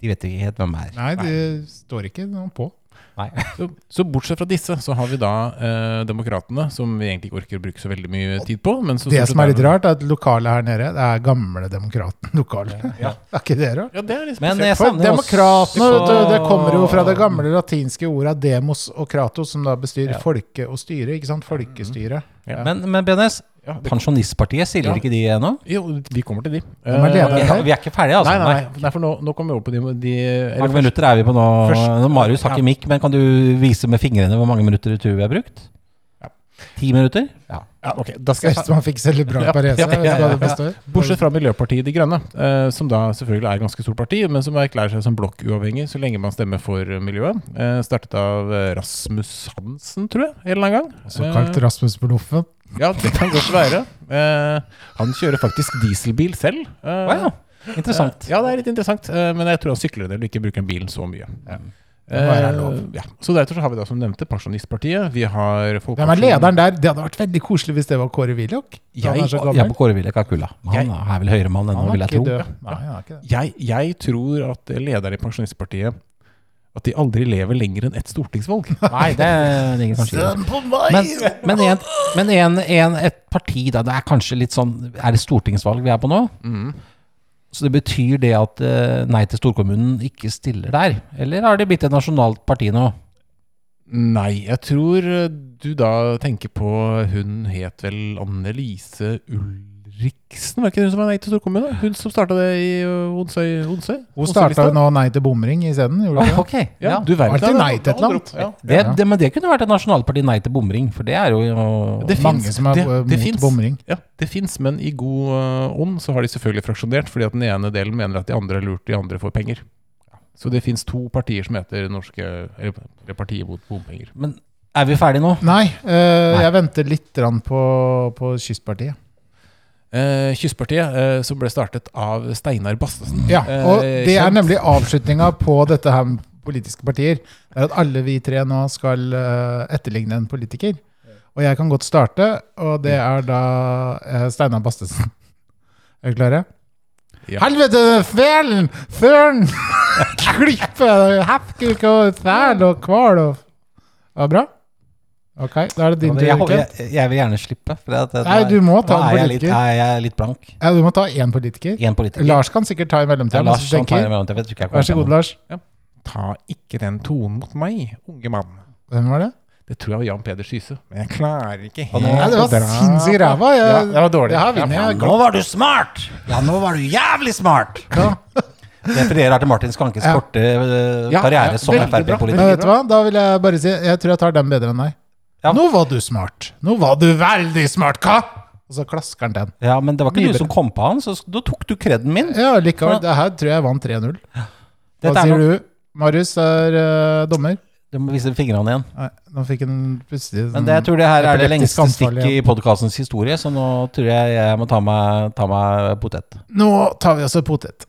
[SPEAKER 3] de vet ikke helt hvem er.
[SPEAKER 4] Nei, det står ikke noen på.
[SPEAKER 3] Nei.
[SPEAKER 5] Så, så bortsett fra disse, så har vi da eh, Demokratene, som vi egentlig ikke orker å bruke så veldig mye tid på. Men så
[SPEAKER 4] Det
[SPEAKER 5] stort sett
[SPEAKER 4] som er litt
[SPEAKER 5] det-
[SPEAKER 4] rart, er at lokalet her nede det er gamle demokraten-lokalet. Er ikke det rart?
[SPEAKER 5] Ja, det er litt
[SPEAKER 3] Men
[SPEAKER 5] spesielt.
[SPEAKER 3] jeg
[SPEAKER 4] For
[SPEAKER 3] savner
[SPEAKER 4] demokratene
[SPEAKER 3] også
[SPEAKER 4] vet du, det kommer jo fra det gamle latinske ordet demos og kratos, som da bestyr folke og styre. ikke sant? Folkestyre.
[SPEAKER 5] Mm.
[SPEAKER 3] Men, men BNS, Pensjonistpartiet, stiller
[SPEAKER 5] Ja.
[SPEAKER 3] ikke de ennå?
[SPEAKER 5] Jo, vi kommer til de.
[SPEAKER 4] er
[SPEAKER 5] Eh,
[SPEAKER 3] Vi
[SPEAKER 4] leder
[SPEAKER 5] nei,
[SPEAKER 4] her?
[SPEAKER 3] er vi er ikke ferdige, altså.
[SPEAKER 5] nei, nei, nei, for nå, nå kommer vi over på de, de eller
[SPEAKER 3] Hvor mange
[SPEAKER 5] først-
[SPEAKER 3] minutter er vi på nå?
[SPEAKER 5] Først-
[SPEAKER 3] Marius har
[SPEAKER 5] Ja.
[SPEAKER 3] ikke mikk, men kan du vise med fingrene hvor mange minutter du tror vi har brukt?
[SPEAKER 5] Ja.
[SPEAKER 3] Ti minutter?
[SPEAKER 5] Ja, ok, da skal
[SPEAKER 4] Skal
[SPEAKER 5] jeg
[SPEAKER 4] helst man fikk
[SPEAKER 5] Ja,
[SPEAKER 4] celebral parese.
[SPEAKER 5] ja,
[SPEAKER 4] vet du
[SPEAKER 5] ja,
[SPEAKER 4] hva det
[SPEAKER 5] ja.
[SPEAKER 4] består?
[SPEAKER 5] Bortsett fra Miljøpartiet De Grønne, eh, som da selvfølgelig er et ganske stort parti, men som erklærer seg som blokkuavhengig så lenge man stemmer for eh, miljøet. Eh, startet av eh, Rasmus Hansen, tror jeg, en eller annen gang.
[SPEAKER 4] Såkalt
[SPEAKER 5] Eh,
[SPEAKER 4] Rasmus på loffen.
[SPEAKER 5] Ja, det kan godt være. Eh, han kjører faktisk dieselbil selv. Eh,
[SPEAKER 3] Å ja. Interessant.
[SPEAKER 5] Ja, det er litt interessant, eh, men jeg tror han sykler en del og ikke bruker bilen så mye.
[SPEAKER 4] Det må være lov.
[SPEAKER 5] Eh, ja. Så derfor så har vi da som nevnte Pensjonistpartiet. Vi har
[SPEAKER 4] Hvem er lederen der? Det hadde vært veldig koselig hvis det var Kåre Willoch. da
[SPEAKER 5] Jeg-
[SPEAKER 4] han er så
[SPEAKER 3] Jeg er
[SPEAKER 4] gammel.
[SPEAKER 3] på Kåre Willoch av Kulla.
[SPEAKER 5] Jeg-
[SPEAKER 3] Han er vel høyere mann ennå,
[SPEAKER 4] Han
[SPEAKER 3] vil
[SPEAKER 4] er
[SPEAKER 3] jeg tro.
[SPEAKER 4] ikke død. Nei, han er ikke det.
[SPEAKER 5] Jeg, jeg tror at lederen i Pensjonistpartiet at de aldri lever lenger enn ett stortingsvalg.
[SPEAKER 3] Nei, det ligger kanskje ikke
[SPEAKER 1] Stem på meg!
[SPEAKER 3] Men, men, en, men en, en, et parti, da. Det er kanskje litt sånn Er det stortingsvalg vi er på nå? Så det betyr det at eh, Nei til storkommunen ikke stiller der? Eller har det blitt et nasjonalt parti nå?
[SPEAKER 5] Nei, jeg tror eh, du da tenker på Hun het vel Anne-Lise Ulriksen? Var ikke hun som var nei til storkommune? Hun som starta det i eh, Onsøy? Onsøy?
[SPEAKER 4] Hun starta jo nå Nei til bomring isteden.
[SPEAKER 5] Ah,
[SPEAKER 4] gjorde
[SPEAKER 3] Åh,
[SPEAKER 4] hun ikke det?
[SPEAKER 3] ok, ja.
[SPEAKER 5] Ja, du verden.
[SPEAKER 4] Alltid
[SPEAKER 5] Ja,
[SPEAKER 4] nei til et eller annet.
[SPEAKER 5] Ja.
[SPEAKER 3] Det,
[SPEAKER 4] Ja.
[SPEAKER 3] det, men det kunne vært et nasjonalparti nei til bomring, for det er jo
[SPEAKER 5] Det
[SPEAKER 4] Mange
[SPEAKER 5] finnes.
[SPEAKER 4] som er,
[SPEAKER 5] Det-
[SPEAKER 4] eh,
[SPEAKER 5] det
[SPEAKER 4] mot
[SPEAKER 5] finnes.
[SPEAKER 4] bomring.
[SPEAKER 5] Ja, det fins, men i god eh, ånd så har de selvfølgelig fraksjonert, fordi at den ene delen mener at de andre er lurt, de andre får penger. Så det fins to partier som heter norske, eller, eller Partiet mot bompenger.
[SPEAKER 3] Men er vi ferdige nå?
[SPEAKER 4] Nei, eh, jeg venter litt grann på, på Kystpartiet.
[SPEAKER 5] Eh, Kystpartiet, eh, som ble startet av Steinar Bastesen.
[SPEAKER 4] Ja,
[SPEAKER 5] Eh,
[SPEAKER 4] og det er
[SPEAKER 5] kjent-
[SPEAKER 4] nemlig avslutninga på dette her med politiske partier. Det er at alle vi tre nå skal eh, etterligne en politiker. Og jeg kan godt starte, og det er da eh, Steinar Bastesen. Er dere klare?
[SPEAKER 5] Ja.
[SPEAKER 4] Helvete, felen! Førn! Klippe! Hefkuk og fæl og kval og Det var bra? Ok, da er det din tur.
[SPEAKER 3] Jeg,
[SPEAKER 4] Kent.
[SPEAKER 3] jeg, jeg vil gjerne slippe. For at,
[SPEAKER 4] Nei, du må ta
[SPEAKER 3] nå
[SPEAKER 4] en
[SPEAKER 3] er jeg litt-
[SPEAKER 4] politiker.
[SPEAKER 3] er Jeg er litt blank.
[SPEAKER 4] Ja, du må ta én politiker.
[SPEAKER 3] Én politiker.
[SPEAKER 4] Lars kan sikkert ta i altså,
[SPEAKER 3] ja,
[SPEAKER 4] mellomtida. men
[SPEAKER 3] Lars
[SPEAKER 4] så
[SPEAKER 3] som
[SPEAKER 4] tenker-
[SPEAKER 3] tar imellom. Jeg vet ikke jeg kommer
[SPEAKER 4] Vær så god,
[SPEAKER 3] til å-
[SPEAKER 4] Lars.
[SPEAKER 5] Ta ikke den tonen mot meg, unge mann.
[SPEAKER 4] Hvem var det?
[SPEAKER 5] Det tror jeg var Jan Peder Syse. Men jeg klarer ikke helt
[SPEAKER 4] Nei, det
[SPEAKER 5] å
[SPEAKER 4] var
[SPEAKER 5] dra-
[SPEAKER 4] sinnssykt ræva. Jeg-
[SPEAKER 5] Ja, det var dårlig.
[SPEAKER 4] Det her Eh, vinner
[SPEAKER 3] Ja,
[SPEAKER 4] jeg.
[SPEAKER 3] nå var du smart! Ja, nå var du jævlig smart! Refererer til Martin Skankes
[SPEAKER 4] Ja.
[SPEAKER 3] korte eh,
[SPEAKER 5] Ja,
[SPEAKER 3] karriere
[SPEAKER 5] ja,
[SPEAKER 3] som
[SPEAKER 5] veldig bra,
[SPEAKER 4] Men
[SPEAKER 3] Frp-politiker.
[SPEAKER 4] vet du hva? Da vil jeg bare si Jeg tror jeg tar den bedre enn deg.
[SPEAKER 3] Ja.
[SPEAKER 4] Nå var du smart. Nå var du veldig smart, hva? Og så klasker han den.
[SPEAKER 3] Ja, men det var
[SPEAKER 4] Mye
[SPEAKER 3] ikke du
[SPEAKER 4] bedre.
[SPEAKER 3] som kom på han, så s- da tok du kreden min.
[SPEAKER 4] Ja, likevel. Det her tror jeg vant 3-0.
[SPEAKER 3] Dette
[SPEAKER 4] Hva
[SPEAKER 3] er
[SPEAKER 4] sier
[SPEAKER 3] noe,
[SPEAKER 4] du? Marius er eh, dommer.
[SPEAKER 3] du må vise fingrene igjen.
[SPEAKER 4] Nei, nå fikk han plutselig sånn
[SPEAKER 3] Men det, jeg tror det her er det
[SPEAKER 4] Epileptisk
[SPEAKER 3] lengste
[SPEAKER 4] anfall
[SPEAKER 3] stikket i podkastens historie, så nå tror jeg jeg må ta meg, ta meg potet.
[SPEAKER 4] Nå tar vi oss en potet.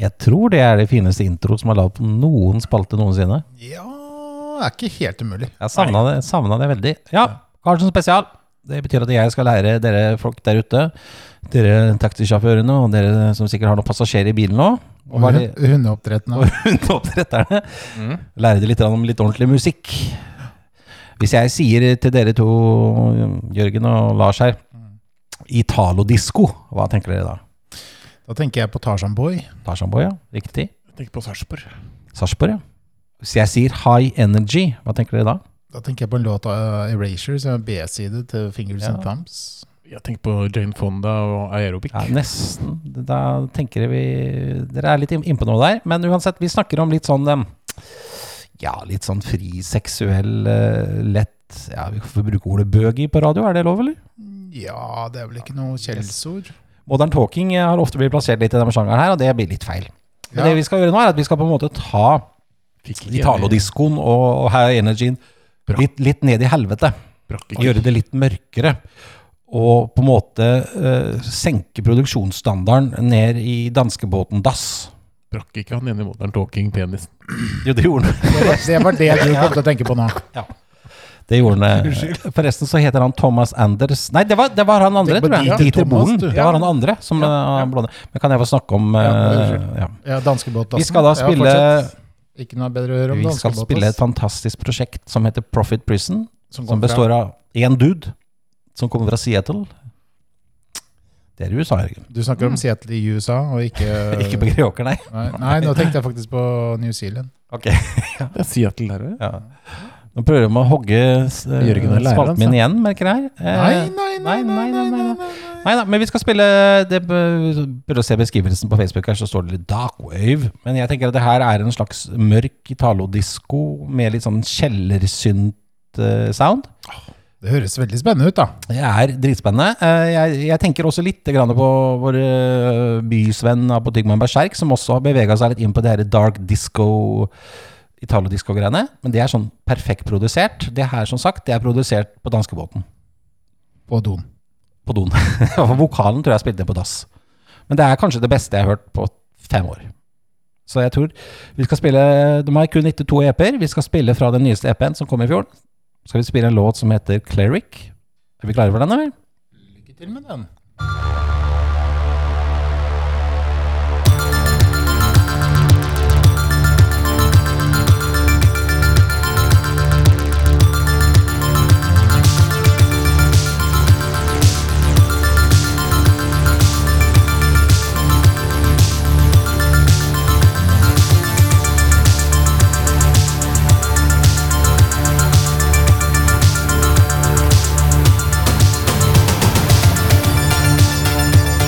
[SPEAKER 3] Jeg tror det er det fineste intro som er lagd på noen spalte noensinne.
[SPEAKER 4] Ja er ikke helt umulig.
[SPEAKER 3] Jeg savna det, savna det veldig. Ja, Karlsen spesial. Det betyr at jeg skal lære dere folk der ute, dere taxisjåførene og dere som sikkert har noen passasjerer i bilen nå, og hva er det-
[SPEAKER 4] Hundeoppdretten
[SPEAKER 3] og hundeoppdretterne, lære dere litt grann om litt ordentlig musikk. Hvis jeg sier til dere to, Jørgen og Lars her, Italo-disko, hva tenker dere da?
[SPEAKER 4] Da tenker jeg på Tarzan Boy.
[SPEAKER 3] Tarzanboy, ja. Riktig.
[SPEAKER 5] Jeg tenker på Sarpsborg.
[SPEAKER 3] Sarpsborg, ja. Hvis jeg sier High Energy, hva tenker dere da?
[SPEAKER 4] Da tenker jeg på en låt av eh, Erasure, som er B-side til Fingers
[SPEAKER 3] Ja.
[SPEAKER 4] and Thumbs.
[SPEAKER 5] Jeg tenker på Jane Fonda og aerobic.
[SPEAKER 3] Ja, nesten. Da tenker jeg vi Dere er litt inn- innpå noe der. Men uansett, vi snakker om litt sånn em, Ja, litt sånn fri, seksuell, eh, lett Ja, vi får bruke ordet bøgi på radio, er det lov, eller?
[SPEAKER 4] Ja, det er vel ikke noe kjeldsord.
[SPEAKER 3] Modern talking eh, har ofte blitt plassert litt i denne sjangeren her, og det blir litt feil. Men
[SPEAKER 4] Ja.
[SPEAKER 3] det vi skal gjøre nå, er at vi skal på en måte ta
[SPEAKER 5] Fikk ikke-
[SPEAKER 3] Italodiskoen og, og High Energyen litt, litt ned i helvete.
[SPEAKER 5] Brakk ikke.
[SPEAKER 3] gjøre det litt mørkere. Og på en måte eh, senke produksjonsstandarden ned i danskebåten Dass.
[SPEAKER 5] Brakk ikke han ene moderen talking penisen.
[SPEAKER 3] Jo, det gjorde han.
[SPEAKER 4] Det var- Det var det du kom til å tenke på nå.
[SPEAKER 3] Det gjorde han. eh, Forresten så heter han Thomas Anders Nei, det var, det var han andre,
[SPEAKER 4] Tenk på
[SPEAKER 3] tror jeg.
[SPEAKER 4] Dieter Thomas,
[SPEAKER 3] Bohlen.
[SPEAKER 4] du.
[SPEAKER 3] Det var han andre som eh, han blånde. Men kan jeg få snakke om eh, ja.
[SPEAKER 4] Ja, danskebåt.
[SPEAKER 3] Vi skal da spille
[SPEAKER 4] Ikke noe bedre å høre om
[SPEAKER 3] Vi skal
[SPEAKER 4] danskebåt.
[SPEAKER 3] spille et
[SPEAKER 4] ass.
[SPEAKER 3] fantastisk prosjekt som heter Profit Prison. Som
[SPEAKER 4] kommer fra-
[SPEAKER 3] består av én dude som kommer fra Seattle. Det er i USA, Jørgen.
[SPEAKER 4] Du snakker om Seattle i USA, og ikke
[SPEAKER 3] Mm. Ikke på Greåker, nei.
[SPEAKER 4] Nei, nei, nå tenkte jeg faktisk på New Zealand.
[SPEAKER 3] Ok.
[SPEAKER 5] Det er Seattle her, vet du.
[SPEAKER 3] Ja. Nå prøver de å hogge eh,
[SPEAKER 5] Jørgen er læreren,
[SPEAKER 3] spalten min igjen, merker jeg. Eh,
[SPEAKER 4] Nei, nei, nei, nei, nei, nei,
[SPEAKER 3] nei,
[SPEAKER 4] nei,
[SPEAKER 3] nei. Neida, men vi skal spille det, Prøv å se beskrivelsen på Facebook, her så står det litt dark wave. Men jeg tenker at det her er en slags mørk italodisko med litt sånn eh, kjellersynt-sound.
[SPEAKER 4] Det høres veldig spennende ut, da.
[SPEAKER 3] Det er dritspennende. Eh, Jeg, jeg tenker også litt grann på vår eh, bysvenn Apotigman Berserk, som også har bevega seg litt inn på det her dark disco Italodisco-greiene. Men det er sånn perfekt produsert. Det her, som sagt, det er produsert på danskebåten.
[SPEAKER 4] På doen.
[SPEAKER 3] På doen. Og Vokalen tror jeg spilte den på dass. Men det er kanskje det beste jeg har hørt på fem år. Så jeg tror vi skal spille De har kun 92 EP-er. E Vi skal spille fra den nyeste EP-en som kom i fjor. Skal vi spille en låt som heter Cleric. Er vi klare for den, eller?
[SPEAKER 4] Lykke til med den.
[SPEAKER 6] Thank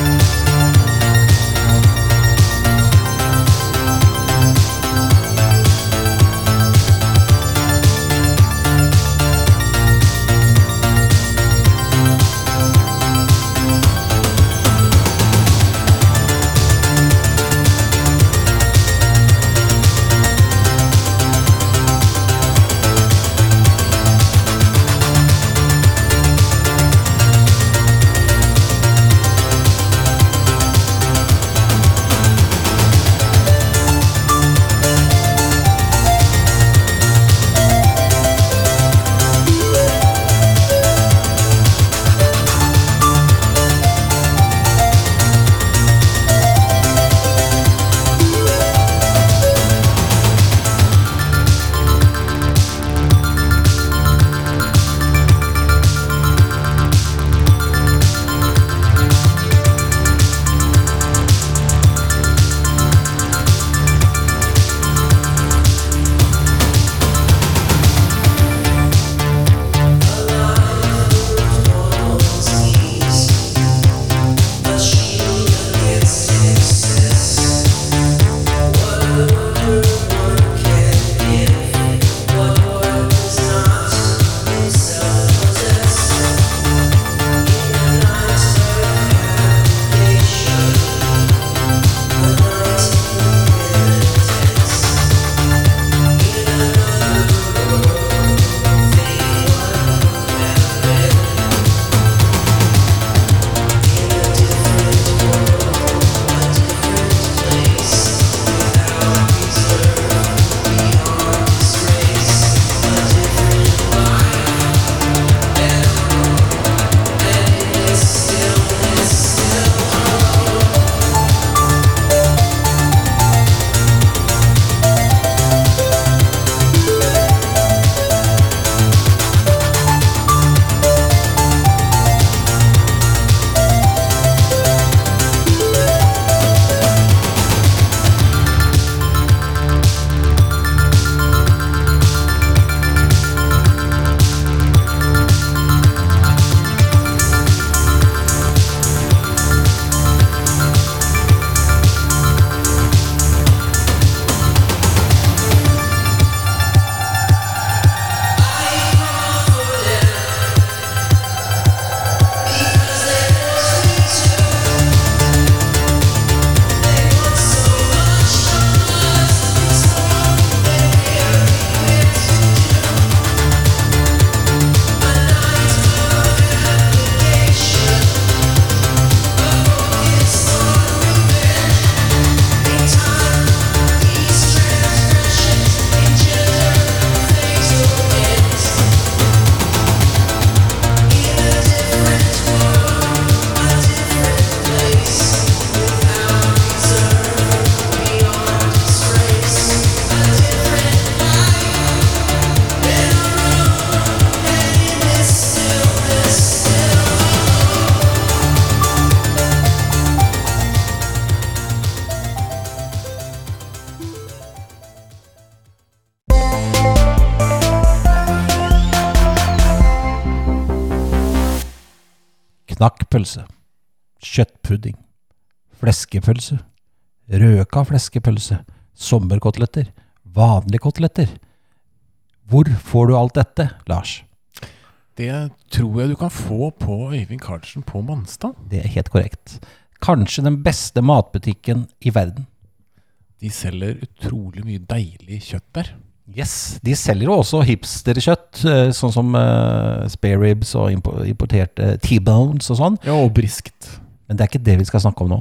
[SPEAKER 3] Knakkpølse. Kjøttpudding. Fleskepølse. Røka fleskepølse. Sommerkoteletter. Vanlige koteletter. Hvor får du alt dette, Lars?
[SPEAKER 5] Det tror jeg du kan få på Øyvind Carlsen på Manstad.
[SPEAKER 3] Det er helt korrekt. Kanskje den beste matbutikken i verden.
[SPEAKER 5] De selger utrolig mye deilig kjøtt der.
[SPEAKER 3] Yes, De selger jo også hipsterkjøtt, eh, sånn som eh, spare ribs og impo- importerte eh, T-bones og sånn.
[SPEAKER 5] Ja, og briskt.
[SPEAKER 3] Men det er ikke det vi skal snakke om nå.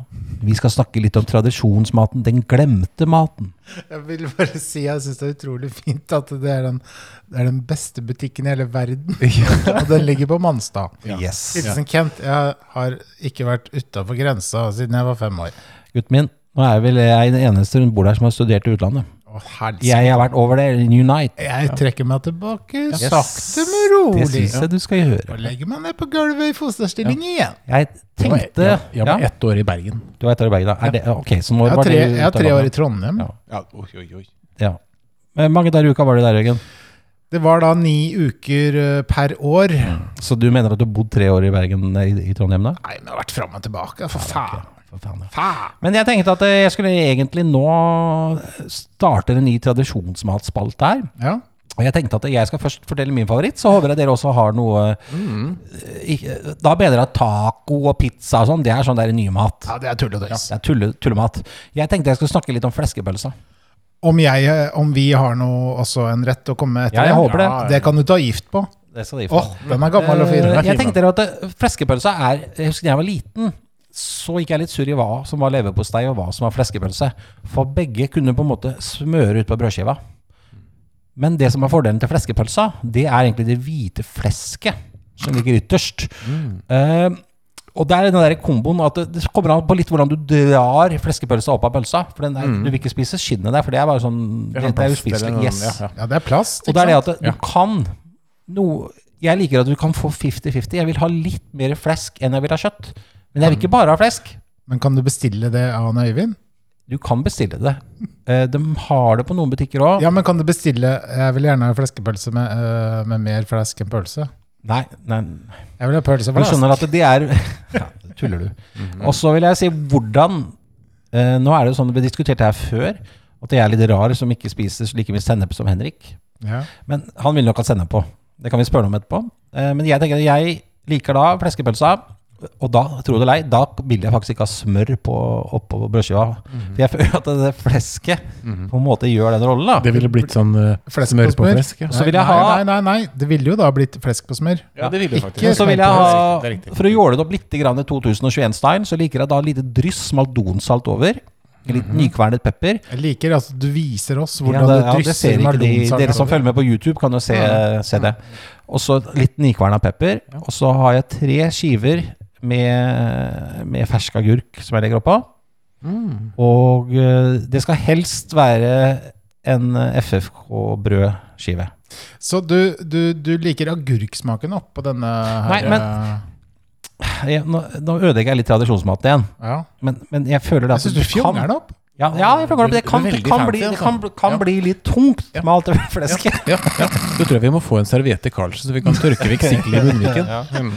[SPEAKER 3] Vi skal snakke litt om tradisjonsmaten, den glemte maten.
[SPEAKER 4] Jeg vil bare si jeg syns det er utrolig fint at det er den, det er den beste butikken i hele verden. og den ligger på Manstad.
[SPEAKER 3] Yes.
[SPEAKER 4] Hilsen Kent. Jeg har ikke vært utafor grensa siden jeg var fem år.
[SPEAKER 3] Gutten min, nå er vel jeg den eneste rundt bordet her som har studert i utlandet.
[SPEAKER 4] Å, helsike.
[SPEAKER 3] Jeg har vært over det i New Night.
[SPEAKER 4] Jeg trekker meg tilbake
[SPEAKER 3] Yes.
[SPEAKER 4] sakte, men rolig.
[SPEAKER 3] Det syns jeg du skal gjøre.
[SPEAKER 4] Og legger meg ned på gulvet i fosterstilling igjen.
[SPEAKER 3] Jeg tenkte
[SPEAKER 5] Jeg, jeg var
[SPEAKER 3] Ja,
[SPEAKER 5] ett år i Bergen.
[SPEAKER 3] Du var ett år i Bergen, da. Er det, ok, så nå
[SPEAKER 4] Jeg har
[SPEAKER 3] var
[SPEAKER 4] tre,
[SPEAKER 3] det
[SPEAKER 4] jeg har tre år i Trondheim.
[SPEAKER 3] Ja.
[SPEAKER 5] Ja, oi, oi, oi.
[SPEAKER 3] Ja. Men mange dager i uka var du der, Jørgen.
[SPEAKER 4] Det var da ni uker eh, per år.
[SPEAKER 3] Så du mener at du har bodd tre år i Bergen eh, i, i Trondheim, da?
[SPEAKER 4] Nei, men jeg har vært fram og tilbake. For faen.
[SPEAKER 3] For faen, ja.
[SPEAKER 4] faen.
[SPEAKER 3] Men jeg tenkte at eh, jeg skulle egentlig nå starte en ny tradisjonsmatspalte her.
[SPEAKER 4] Ja.
[SPEAKER 3] Og jeg tenkte at jeg skal først fortelle min favoritt, så håper jeg dere også har noe Mm. ikke- Da mener jeg at taco og pizza og sånn, det er sånn der nye mat.
[SPEAKER 4] ja, det er tull og tøys.
[SPEAKER 3] Det er tulle, tullemat. Jeg tenkte jeg skulle snakke litt om fleskepølsa.
[SPEAKER 4] Om, jeg, eh, om vi har noe, også en rett å komme etter?
[SPEAKER 3] Ja, jeg håper det.
[SPEAKER 4] Det kan du ta gift på.
[SPEAKER 3] Det skal de
[SPEAKER 4] Åh,
[SPEAKER 3] få.
[SPEAKER 4] den er gammel og fin.
[SPEAKER 3] Eh, Jeg tenkte dere at eh, fleskepølsa er Jeg husker da jeg var liten, så gikk jeg litt surr i hva som var leverpostei og hva som var fleskepølse. For begge kunne på en måte smøre ut på brødskiva. Men det som er fordelen til fleskepølsa, det er egentlig det hvite flesket som ligger ytterst. Eh, og det er den der komboen at det- det kommer an på litt hvordan du drar fleskepølsa opp av pølsa. For den der, du vil ikke spise skinnet der, for det er bare sånn Det, det er
[SPEAKER 5] plast, eller noen-
[SPEAKER 3] uspiselig. Yes.
[SPEAKER 5] ja, ja.
[SPEAKER 4] Ja, det er plast.
[SPEAKER 3] Og
[SPEAKER 4] ikke
[SPEAKER 3] det er det
[SPEAKER 4] sant?
[SPEAKER 3] at du kan noe Jeg liker at du kan få 50-50. Jeg vil ha litt mer flesk enn jeg vil ha kjøtt. Men jeg vil ikke bare ha flesk.
[SPEAKER 4] Men kan du bestille det av han Øyvind?
[SPEAKER 3] Du kan bestille det. Eh, De har det på noen butikker òg.
[SPEAKER 4] Ja, men kan du bestille Jeg vil gjerne ha fleskepølse med, eh, med mer flesk enn pølse.
[SPEAKER 3] Nei, nei,
[SPEAKER 4] Jeg vil ha pølse
[SPEAKER 3] du
[SPEAKER 4] med
[SPEAKER 3] skjønner
[SPEAKER 4] flesk.
[SPEAKER 3] at det er ja, Tuller du. Og så vil jeg si hvordan eh, Nå er det jo sånn, vi diskuterte her før, at jeg er litt rar som ikke spiser like mye sennep som Henrik.
[SPEAKER 4] Ja.
[SPEAKER 3] Men han vil nok ha sennep på. Det kan vi spørre om etterpå. Eh, Men jeg tenker at jeg liker da fleskepølsa. Og da tror du lei, da vil jeg faktisk ikke ha smør på, oppå brødskiva.
[SPEAKER 5] Mhm.
[SPEAKER 3] For jeg føler at det flesket på en måte gjør den rollen. da.
[SPEAKER 5] Det ville blitt sånn uh,
[SPEAKER 4] Flesk
[SPEAKER 5] smør på flesk. Ja.
[SPEAKER 3] Så vil jeg
[SPEAKER 4] nei,
[SPEAKER 3] ha-
[SPEAKER 4] nei, nei, nei, det ville jo da blitt flesk på smør.
[SPEAKER 5] Ja, det ville
[SPEAKER 4] Ikke
[SPEAKER 3] Men så vil jeg ha,
[SPEAKER 5] Det er riktig.
[SPEAKER 3] for å jåle det opp litt grann i 2021-style, så liker jeg da lite dryss maldonsalt over. Litt
[SPEAKER 5] Mhm.
[SPEAKER 3] nykvernet pepper.
[SPEAKER 4] Jeg liker at du viser oss
[SPEAKER 3] Ja,
[SPEAKER 4] hvordan
[SPEAKER 3] det, ja,
[SPEAKER 4] du
[SPEAKER 3] det ser
[SPEAKER 4] drysser
[SPEAKER 3] ikke de,
[SPEAKER 4] mardonsalt
[SPEAKER 3] dere som
[SPEAKER 4] over.
[SPEAKER 3] følger med på YouTube, kan jo se, se det. Og så litt nikverna pepper. Og så har jeg tre skiver med, med fersk agurk som jeg legger oppå.
[SPEAKER 5] Mm.
[SPEAKER 3] Og eh, det skal helst være en eh, FFK-brødskive.
[SPEAKER 4] Så du, du, du liker agurksmaken oppå denne her?
[SPEAKER 3] Nei,
[SPEAKER 4] eh,
[SPEAKER 3] men- Jeg- Nå, nå ødelegger jeg litt tradisjonsmaten igjen,
[SPEAKER 4] eh, ja.
[SPEAKER 3] men, men jeg føler det
[SPEAKER 4] Jeg
[SPEAKER 3] at
[SPEAKER 4] syns du fjonger den opp.
[SPEAKER 3] Ja, ja jeg fjonger det. Det kan,
[SPEAKER 5] Du er
[SPEAKER 3] det
[SPEAKER 5] veldig
[SPEAKER 3] kan,
[SPEAKER 5] fancy,
[SPEAKER 3] bli, det
[SPEAKER 5] altså.
[SPEAKER 3] kan, kan
[SPEAKER 5] Ja.
[SPEAKER 3] bli litt tungt med alt det flesket.
[SPEAKER 5] Ja, ja. Da tror jeg vi må få en serviett til Carlsen, så vi kan tørke vekk sikkelig i munnviken. Mm.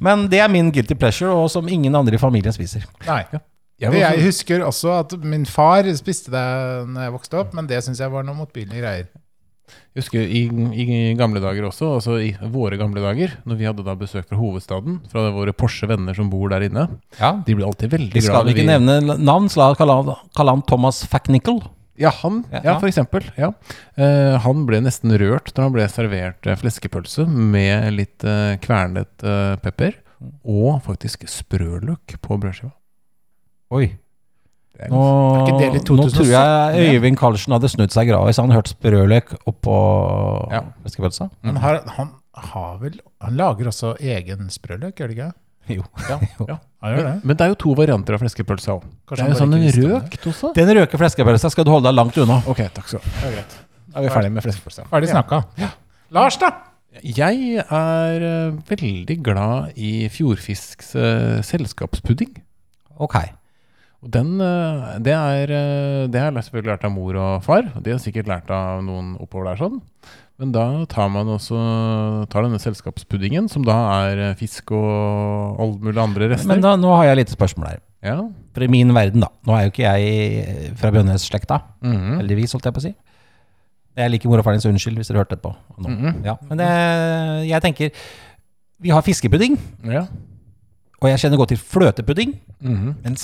[SPEAKER 3] Men det er min guilty pleasure, og som ingen andre i familien spiser.
[SPEAKER 4] Nei.
[SPEAKER 5] Jeg sånn-
[SPEAKER 4] Det
[SPEAKER 5] vil
[SPEAKER 4] jeg
[SPEAKER 5] også-
[SPEAKER 4] husker også at min far spiste det når jeg vokste opp, men det syns jeg var noe motbydelige greier.
[SPEAKER 5] Jeg husker i, i gamle dager også, altså i våre gamle dager, når vi hadde da besøk fra hovedstaden, fra våre Porsche-venner som bor der inne, de ble alltid veldig
[SPEAKER 3] Vi skal
[SPEAKER 5] glad når
[SPEAKER 3] ikke nevne navn, så la kalle han- kalle han Thomas Facknickel.
[SPEAKER 5] Ja, han,
[SPEAKER 3] Ja,
[SPEAKER 5] ja,
[SPEAKER 3] ja.
[SPEAKER 5] for eksempel. Ja. Eh, han ble nesten rørt når han ble servert eh, fleskepølse med litt eh, kvernet eh, pepper, og faktisk sprøløk på brødskiva.
[SPEAKER 3] Oi.
[SPEAKER 5] Det er
[SPEAKER 3] Nå,
[SPEAKER 4] Er ikke det litt
[SPEAKER 3] nå tror
[SPEAKER 4] 2017?
[SPEAKER 3] jeg Øyvind Carlsen hadde snudd seg gravis. Han hørte sprøløk oppå
[SPEAKER 5] Ja. Mm.
[SPEAKER 3] fleskepølsa.
[SPEAKER 4] Han har, han har vel Han lager også egen sprøløk, gjør det ikke?
[SPEAKER 3] Jo.
[SPEAKER 5] ja.
[SPEAKER 4] Han gjør det.
[SPEAKER 5] Men, men det er jo to varianter av fleskepølse òg. Det
[SPEAKER 4] Kanskje
[SPEAKER 5] er jo
[SPEAKER 4] han
[SPEAKER 5] sånn
[SPEAKER 4] bare
[SPEAKER 5] en
[SPEAKER 4] ikke visste om det.
[SPEAKER 5] røkt også.
[SPEAKER 3] Den røke fleskepølsa skal du holde deg langt unna.
[SPEAKER 5] Ok, takk skal du ha. Da er vi ferdig med fleskepølse.
[SPEAKER 4] Ferdig snakka. Lars, da?
[SPEAKER 5] Jeg er eh, veldig glad i Fjordfisks eh, selskapspudding.
[SPEAKER 3] Ok.
[SPEAKER 5] Og den, eh, det, er, eh, det har jeg selvfølgelig lært av mor og far, og de har sikkert lært av noen oppover der sånn. Men da tar man også tar denne selskapspuddingen, som da er eh, fisk og alle mulige andre rester.
[SPEAKER 3] Men da, nå har jeg et lite spørsmål her.
[SPEAKER 5] ja.
[SPEAKER 3] For i min verden, da. Nå er jo ikke jeg fra Bjønnes-slekta.
[SPEAKER 5] Mhm.
[SPEAKER 3] Heldigvis, holdt jeg på å si. Jeg liker mor og faren din, så unnskyld hvis dere hørte det på. Nå.
[SPEAKER 5] Mhm.
[SPEAKER 3] ja. Men det, jeg tenker Vi har fiskepudding,
[SPEAKER 5] ja.
[SPEAKER 3] og jeg kjenner godt til fløtepudding.
[SPEAKER 5] Mhm.
[SPEAKER 3] Men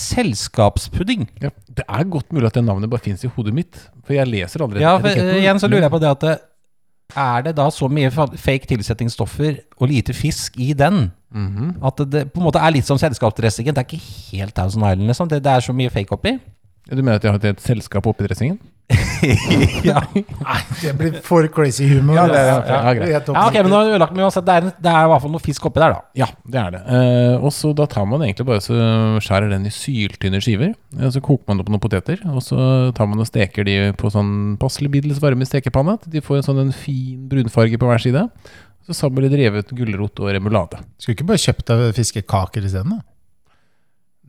[SPEAKER 3] selskapspudding
[SPEAKER 5] ja. Det er godt mulig at det navnet bare fins i hodet mitt, for jeg leser aldri
[SPEAKER 3] Ja, for, eh, igjen så lurer jeg på det at eh, Er det da så mye fa- fake tilsetningsstoffer og lite fisk i den at det- det på en måte er litt som selskapsdressingen? Det er ikke helt Thousand Island, liksom. Det, det er så mye fake oppi.
[SPEAKER 5] Du mener at jeg har et helt selskap oppi dressingen?
[SPEAKER 3] ja.
[SPEAKER 4] Det blir for crazy humor.
[SPEAKER 5] det er-
[SPEAKER 4] altså.
[SPEAKER 5] ja, greit.
[SPEAKER 4] Helt opp-
[SPEAKER 3] ja, ok, men nå har jeg ødelagt meg uansett. Det er, en- det er i hvert fall noe fisk oppi der, da.
[SPEAKER 5] Ja, det er det. Eh, og så da tar man egentlig bare så skjærer den i syltynne skiver. eh, så koker man opp noen poteter, og så tar man og steker de på sånn passelig middels varme stekepanne. til De får en sånn en fin brunfarge på hver side. Så sammen litt revet gulrot og remulade.
[SPEAKER 4] Skulle ikke bare kjøpt deg fiskekaker isteden? da?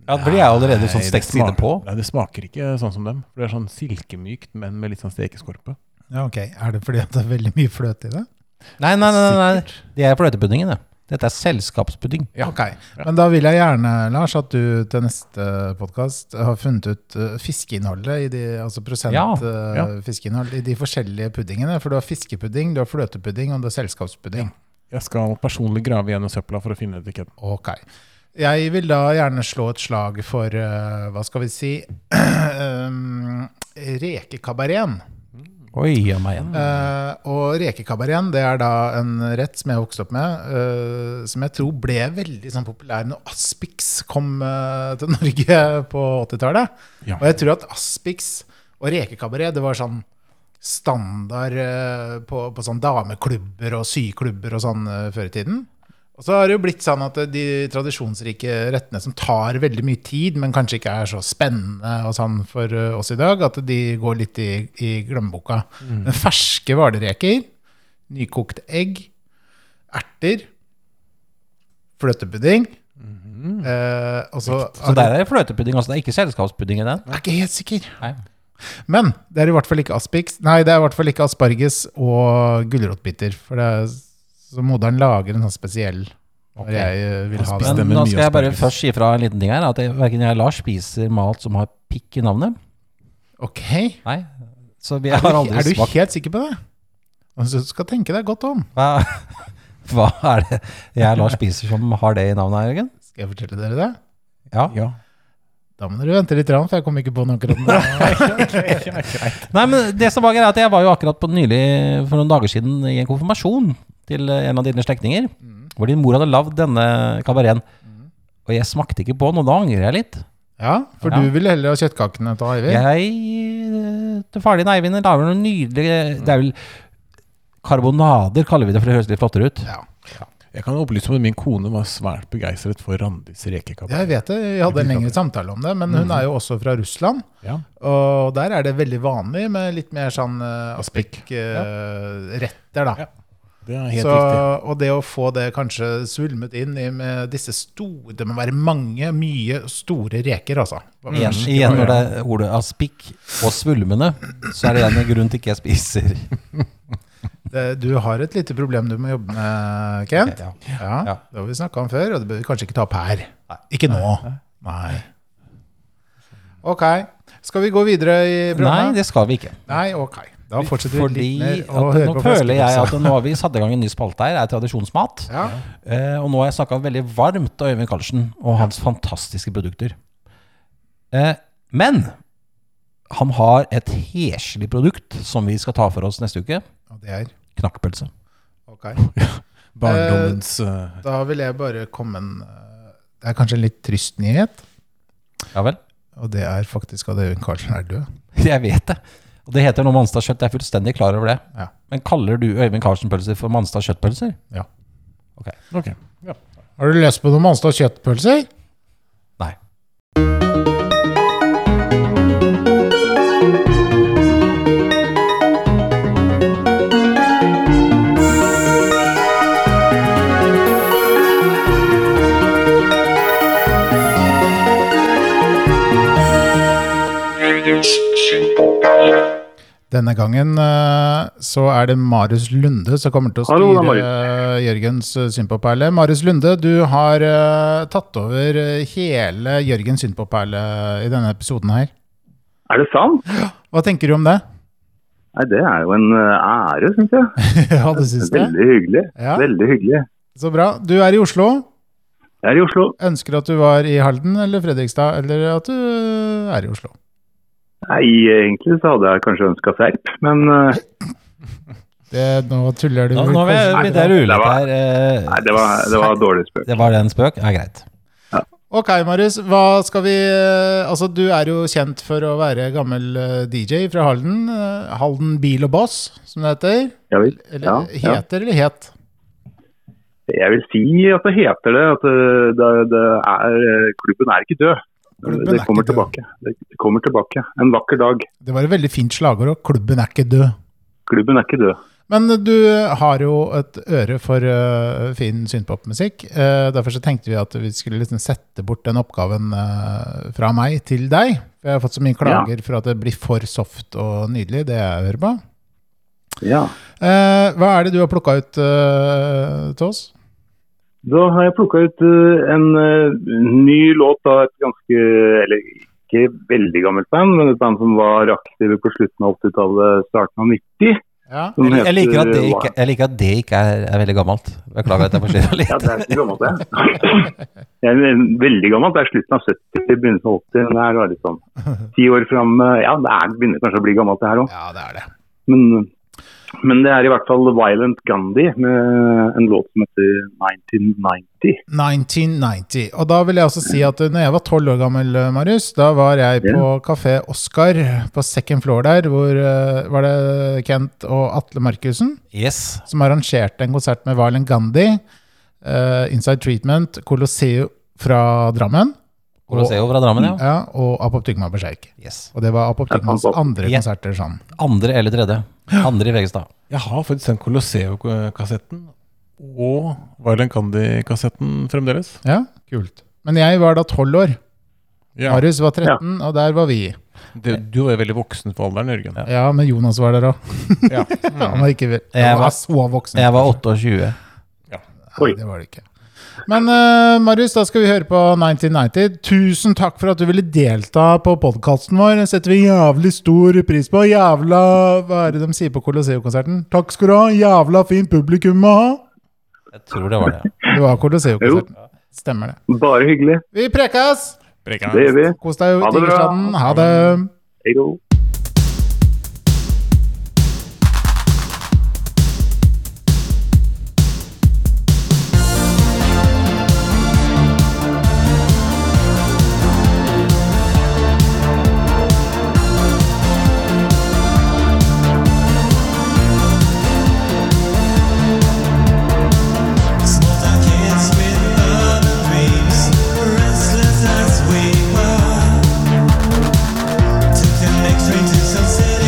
[SPEAKER 3] Ja, det blir jeg allerede sånn
[SPEAKER 5] Nei,
[SPEAKER 3] stekt
[SPEAKER 5] det
[SPEAKER 3] side
[SPEAKER 5] smaker-
[SPEAKER 3] på.
[SPEAKER 5] Nei, det smaker ikke sånn som dem. For det er sånn silkemykt, men med litt sånn stekeskorpe.
[SPEAKER 4] Ja, ok. Er det fordi at det er veldig mye fløte i det?
[SPEAKER 3] Nei, nei, nei. nei, nei.
[SPEAKER 5] Sikkert.
[SPEAKER 3] Det er fløtepuddingen, det. Dette er selskapspudding.
[SPEAKER 5] Ja.
[SPEAKER 4] Ok, Men da vil jeg gjerne, Lars, at du til neste podkast har funnet ut eh, fiskeinnholdet, i de, altså prosent
[SPEAKER 3] Ja,
[SPEAKER 4] eh,
[SPEAKER 5] ja.
[SPEAKER 4] fiskeinnhold i de forskjellige puddingene. For du har fiskepudding, du har fløtepudding, og det er selskapspudding.
[SPEAKER 5] Jeg skal personlig grave gjennom søpla for å finne etiketten.
[SPEAKER 4] Ok. Jeg vil da gjerne slå et slag for, eh, hva skal vi si, um, rekekabareten.
[SPEAKER 3] Oi, ja, meg igjen.
[SPEAKER 4] Eh, og rekekabareten, det er da en rett som jeg vokste opp med, eh, som jeg tror ble veldig sånn, populær når Aspix kom eh, til Norge på 80-tallet.
[SPEAKER 5] Ja.
[SPEAKER 4] Og jeg tror at Aspix og rekekabaret, det var sånn standard eh, på, på sånn dameklubber og syklubber og sånn eh, før i tiden. Og så har det jo blitt sånn at de tradisjonsrike rettene som tar veldig mye tid, men kanskje ikke er så spennende og sånn for eh, oss i dag, at de går litt i, i glemmeboka.
[SPEAKER 3] Mm.
[SPEAKER 4] Men Ferske hvalreker, nykokte egg, erter, fløtepudding eh, og så,
[SPEAKER 3] Mhm. Så der er det fløtepudding også. Det er ikke selskapspudding i den.
[SPEAKER 4] Jeg er ikke helt sikker.
[SPEAKER 3] Nei.
[SPEAKER 4] Men det er i hvert fall ikke aspiks Nei, det er i hvert fall ikke asparges og gulrotbiter. For det er, så moderen lager en sånn spesiell Når jeg eh, vil ha den.
[SPEAKER 5] Stemmer
[SPEAKER 3] Men nå
[SPEAKER 5] mye
[SPEAKER 3] skal jeg bare
[SPEAKER 5] asparges.
[SPEAKER 3] først si fra en liten ting her. At jeg- hverken jeg eller Lars spiser mat som har pikk i navnet.
[SPEAKER 4] Ok,
[SPEAKER 3] Nei. Så vi
[SPEAKER 4] er
[SPEAKER 3] har
[SPEAKER 4] du,
[SPEAKER 3] aldri
[SPEAKER 4] er du
[SPEAKER 3] smakt
[SPEAKER 4] helt sikker på det? Altså, du skal tenke deg godt om.
[SPEAKER 3] hva, hva er det jeg og Lars spiser som har det i navnet, her, Jørgen?
[SPEAKER 4] Skal jeg fortelle dere det?
[SPEAKER 3] Ja.
[SPEAKER 5] Ja.
[SPEAKER 4] Da må dere vente litt, rann, for jeg kom ikke på noe akkurat nå.
[SPEAKER 3] Nei, men det som var greia, er at jeg var jo akkurat på nylig, for noen dager siden, i en konfirmasjon til eh, en av dine slektninger.
[SPEAKER 4] Mm.
[SPEAKER 3] Hvor din mor hadde lagd denne kabareten. Og jeg smakte ikke på den, og da angrer jeg litt.
[SPEAKER 4] Ja, for
[SPEAKER 3] Ja.
[SPEAKER 4] du ville heller ha kjøttkakene til Eivind.
[SPEAKER 3] Jeg eh, til faren din, Eivind, lager noen nydelige Det er vel karbonader, kaller vi det, for det høres litt flottere ut.
[SPEAKER 4] Ja.
[SPEAKER 5] Jeg kan opplyse om at min kone var svært begeistret for Randis rekekappe.
[SPEAKER 4] Jeg vet det, vi hadde en lengre samtale om det, men hun
[SPEAKER 3] Mhm.
[SPEAKER 4] er jo også fra Russland.
[SPEAKER 5] Ja.
[SPEAKER 4] Og der er det veldig vanlig med litt mer sånn uh, aspik-retter, da.
[SPEAKER 5] Ja, Det er helt
[SPEAKER 4] så,
[SPEAKER 5] riktig.
[SPEAKER 4] og det å få det kanskje svulmet inn i med disse store Det må være mange, mye store reker, altså.
[SPEAKER 3] Igjen, igjen når det er ordet aspik og svulmende, så er det en grunn til ikke jeg spiser.
[SPEAKER 4] Det- eh, Du har et lite problem du må jobbe med, Kent.
[SPEAKER 3] Ja.
[SPEAKER 4] Ja,
[SPEAKER 3] Ja.
[SPEAKER 4] Det har vi snakka om før, og det bør vi kanskje ikke ta opp her. Ikke nå. Nei. Ok. Skal vi gå videre i
[SPEAKER 3] Nei,
[SPEAKER 4] programmet?
[SPEAKER 3] det skal vi ikke.
[SPEAKER 4] Nei, ok. Da fortsetter vi
[SPEAKER 3] Fordi
[SPEAKER 4] litt mer å
[SPEAKER 3] at
[SPEAKER 4] høre
[SPEAKER 3] nå
[SPEAKER 4] på
[SPEAKER 3] føler jeg at
[SPEAKER 4] Fleskebuksa.
[SPEAKER 3] nå har vi satt i gang en ny spalte her, er tradisjonsmat.
[SPEAKER 4] ja.
[SPEAKER 3] Eh, og nå har jeg snakka veldig varmt av Øyvind Carlsen og hans fantastiske produkter. Eh, men han har et heslig produkt som vi skal ta for oss neste uke.
[SPEAKER 4] Og det er
[SPEAKER 3] Knakkpølse.
[SPEAKER 4] ok.
[SPEAKER 5] Barndommens eh,
[SPEAKER 4] Da vil jeg bare komme en eh, Det er kanskje en litt trist nyhet,
[SPEAKER 3] Ja vel?
[SPEAKER 4] og det er faktisk at Øyvind Carlsen er død.
[SPEAKER 3] Jeg vet det. Og det heter nå Manstad kjøtt. Jeg er fullstendig klar over det.
[SPEAKER 4] Ja.
[SPEAKER 3] Men kaller du Øyvind Carlsen-pølser for Manstad kjøttpølser?
[SPEAKER 4] Ja.
[SPEAKER 5] Ok. Ja.
[SPEAKER 4] Har du lyst på noen Manstad kjøttpølser?
[SPEAKER 3] Nei.
[SPEAKER 4] Denne gangen eh, så er det Marius Lunde som kommer til å
[SPEAKER 6] Hallo, det er
[SPEAKER 4] styre eh, Jørgens eh, syndpåperle. Marius Lunde, du har eh, tatt over eh, hele Jørgens syndpåperle i denne episoden her.
[SPEAKER 6] Er det sant?
[SPEAKER 4] Hva tenker du om det?
[SPEAKER 6] Nei, det er jo en eh, ære, syns jeg.
[SPEAKER 4] ja, du syns det?
[SPEAKER 6] Veldig hyggelig.
[SPEAKER 4] Ja.
[SPEAKER 6] Veldig hyggelig.
[SPEAKER 4] Så bra. Du er i Oslo.
[SPEAKER 6] Jeg er i Oslo.
[SPEAKER 4] Ønsker at du var i Halden eller Fredrikstad, eller at du er i Oslo.
[SPEAKER 6] Nei, egentlig så hadde jeg kanskje ønska Serp, men eh,
[SPEAKER 4] Det, nå tuller du
[SPEAKER 3] Nå, nå er vi- det er
[SPEAKER 6] det
[SPEAKER 3] ulikt
[SPEAKER 6] var-
[SPEAKER 3] her. eh,
[SPEAKER 6] nei, det var, det var dårlig spøk.
[SPEAKER 3] Det var en spøk? Ja, greit.
[SPEAKER 4] Ok, Marius. Hva skal vi Altså, du er jo kjent for å være gammel eh, DJ fra Halden. eh, Halden Bil og Boss, som det heter.
[SPEAKER 6] Jeg vil,
[SPEAKER 4] Eller eh,
[SPEAKER 6] ja, ja.
[SPEAKER 4] heter eller het.
[SPEAKER 6] Jeg vil si at det heter det. At eh, det, det er, eh, klubben er ikke død.
[SPEAKER 4] Klubben er
[SPEAKER 6] det kommer
[SPEAKER 4] ikke død.
[SPEAKER 6] tilbake. Det det kommer tilbake. En vakker dag.
[SPEAKER 4] Det var et veldig fint slagord, og klubben er ikke død.
[SPEAKER 6] Klubben er ikke død.
[SPEAKER 4] Men eh, du har jo et øre for eh, fin synpopmusikk. eh, derfor så tenkte vi at vi skulle liksom sette bort den oppgaven eh, fra meg til deg. For jeg har fått så mye klager for at det blir for soft og nydelig, det jeg hører på.
[SPEAKER 6] Ja.
[SPEAKER 4] Eh, hva er det du har plukka ut eh, til oss?
[SPEAKER 6] Da har jeg plukka ut eh, en eh, ny låt av et ganske Eller ikke veldig gammelt band, men et band som var aktive på slutten av 80-tallet, starten av 90.
[SPEAKER 4] Ja.
[SPEAKER 6] Som
[SPEAKER 3] Jeg liker at det
[SPEAKER 6] heter-
[SPEAKER 3] ikke, jeg liker at det ikke er, er veldig gammelt. Beklager at jeg forstyrrer
[SPEAKER 6] Ja,
[SPEAKER 3] litt.
[SPEAKER 6] det er ikke gammelt, det. Det er en- veldig gammelt. Det er slutten av 70, begynnelsen av 80. Men det er da litt sånn ti år fram eh, Ja, det er, begynner kanskje å bli gammelt, det her òg.
[SPEAKER 4] Ja, det er det.
[SPEAKER 6] Men, men det er i hvert fall Violent Gandhi med en låt som heter 1990.
[SPEAKER 4] 1990. Og da vil jeg også si at eh, når jeg var tolv år gammel, eh, Marius, da var jeg på Kafé Oscar på second floor der, hvor eh, var det Kent og Atle Markussen
[SPEAKER 3] Yes.
[SPEAKER 4] som arrangerte en konsert med Valen Gandhi, eh, Inside Treatment, Colosseo fra Drammen
[SPEAKER 3] Coloseo fra Drammen,
[SPEAKER 6] Mm.
[SPEAKER 3] ja.
[SPEAKER 4] ja, og Apoptygma Berserk.
[SPEAKER 3] Yes.
[SPEAKER 4] Og det var Apoptygmas
[SPEAKER 6] Ja,
[SPEAKER 4] andre
[SPEAKER 3] Ja.
[SPEAKER 4] konserter sånn.
[SPEAKER 3] Andre eller tredje. Andre i Vegestad.
[SPEAKER 5] Jeg har faktisk den Colosseo-kassetten og Violent Candy-kassetten fremdeles.
[SPEAKER 4] Ja, kult. Men jeg var da tolv år.
[SPEAKER 5] Ja,
[SPEAKER 4] Marius var 13, og der var vi.
[SPEAKER 5] du, du var jo veldig voksen for alderen, Jørgen.
[SPEAKER 4] Ja, men Jonas var der òg.
[SPEAKER 5] Ja.
[SPEAKER 4] Han var ikke
[SPEAKER 3] Jeg
[SPEAKER 4] han
[SPEAKER 3] var-
[SPEAKER 4] var så voksen.
[SPEAKER 3] Jeg var 28.
[SPEAKER 6] Oi.
[SPEAKER 4] Nei, det var det ikke. Men eh, Marius, da skal vi høre på 1990. Tusen takk for at du ville delta på podkasten vår. Det setter vi jævlig stor pris på. Jævla Hva er det de sier på Colosseo-konserten? Takk skal du ha. Jævla fint publikum å ha.
[SPEAKER 3] Jeg tror det var det.
[SPEAKER 4] Det var Colosseo-konserten. Stemmer det.
[SPEAKER 6] Bare hyggelig.
[SPEAKER 4] Vi prekes!
[SPEAKER 5] Brekker
[SPEAKER 6] Det gjør vi.
[SPEAKER 4] Kos deg
[SPEAKER 6] Ha
[SPEAKER 4] i
[SPEAKER 6] det bra.
[SPEAKER 4] Tigerstaden. Ha det.
[SPEAKER 6] Hei då.
[SPEAKER 7] Restless as we were, took the next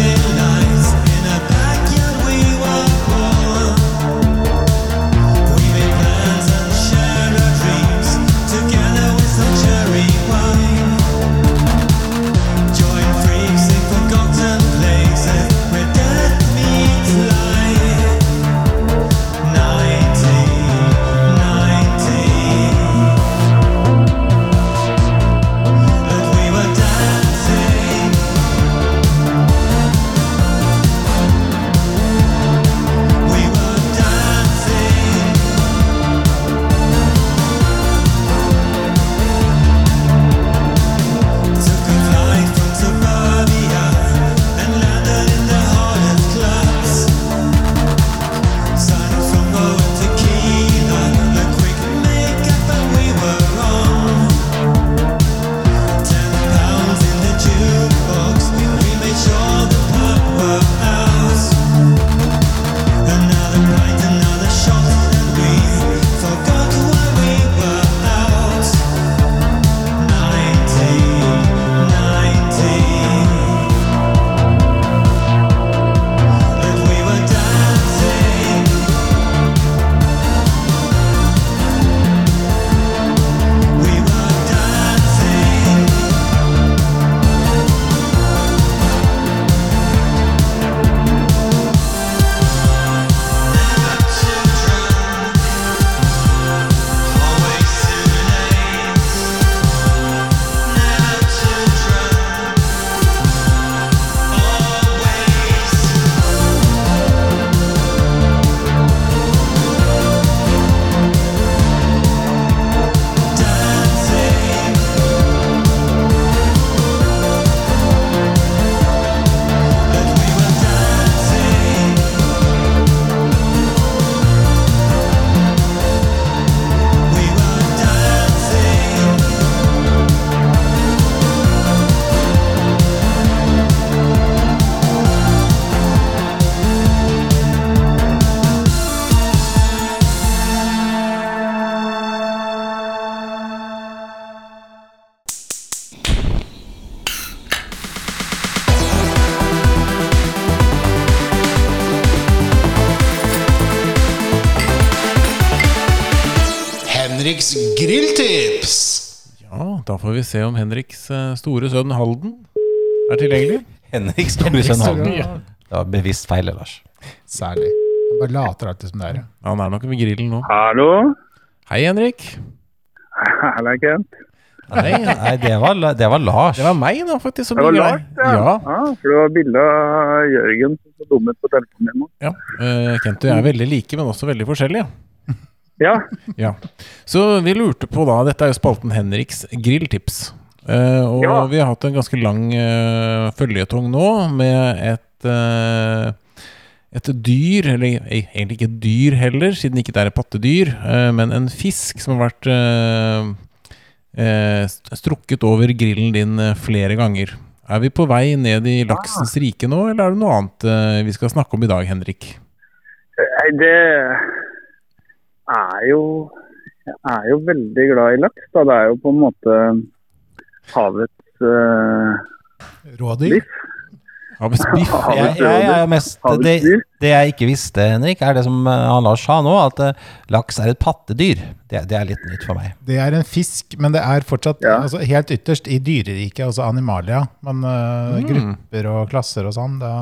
[SPEAKER 7] Henriks grilltips.
[SPEAKER 5] Ja, da får vi se om Henriks eh, store sønn Halden er tilgjengelig.
[SPEAKER 3] Henrik Store Sønhalden. Det var bevisst feil, det, Lars.
[SPEAKER 4] Særlig. Han bare later alltid som det er. ja.
[SPEAKER 5] Han er nok ved grillen nå.
[SPEAKER 6] Hallo?
[SPEAKER 5] Hei, Henrik.
[SPEAKER 6] Hallo, Kent.
[SPEAKER 5] Nei,
[SPEAKER 3] Nei, det var, La- det var Lars.
[SPEAKER 5] det var meg, da, faktisk. Som
[SPEAKER 6] Det var
[SPEAKER 5] ringer
[SPEAKER 6] Lars,
[SPEAKER 5] deg.
[SPEAKER 6] ja. ja. for det var bilde av Jørgen som så dum ut på telefonen min nå.
[SPEAKER 5] Ja. Eh, Kent og jeg er veldig like, men også veldig forskjellige.
[SPEAKER 6] Ja,
[SPEAKER 5] Ja. Så vi lurte på da Dette er jo spalten Henriks grilltips. Eh, og
[SPEAKER 6] Ja.
[SPEAKER 5] vi har hatt en ganske lang uh, føljetong nå med et eh, et dyr, eller ei, egentlig ikke et dyr heller, siden ikke det er et pattedyr, eh, men en fisk som har vært eh, eh, st- strukket over grillen din eh, flere ganger. Er vi på vei ned i laksens rike nå, eller er det noe annet eh, vi skal snakke om i dag, Henrik?
[SPEAKER 6] nei, det er jo Jeg er jo veldig glad i laks, da. Det er jo på en måte havets eh,
[SPEAKER 4] Rådyr.
[SPEAKER 5] Havets biff?
[SPEAKER 3] Jeg, jeg, jeg er mest,
[SPEAKER 6] Havets
[SPEAKER 3] det,
[SPEAKER 6] dyr.
[SPEAKER 3] det jeg ikke visste, Henrik, er det som eh, han Lars sa nå, at eh, laks er et pattedyr. Det, det er litt nytt for meg.
[SPEAKER 4] Det er en fisk, men det er fortsatt
[SPEAKER 6] Ja.
[SPEAKER 4] altså, helt ytterst i dyreriket, altså animalia. Men
[SPEAKER 6] Mm.
[SPEAKER 4] øh, grupper og klasser og sånn, da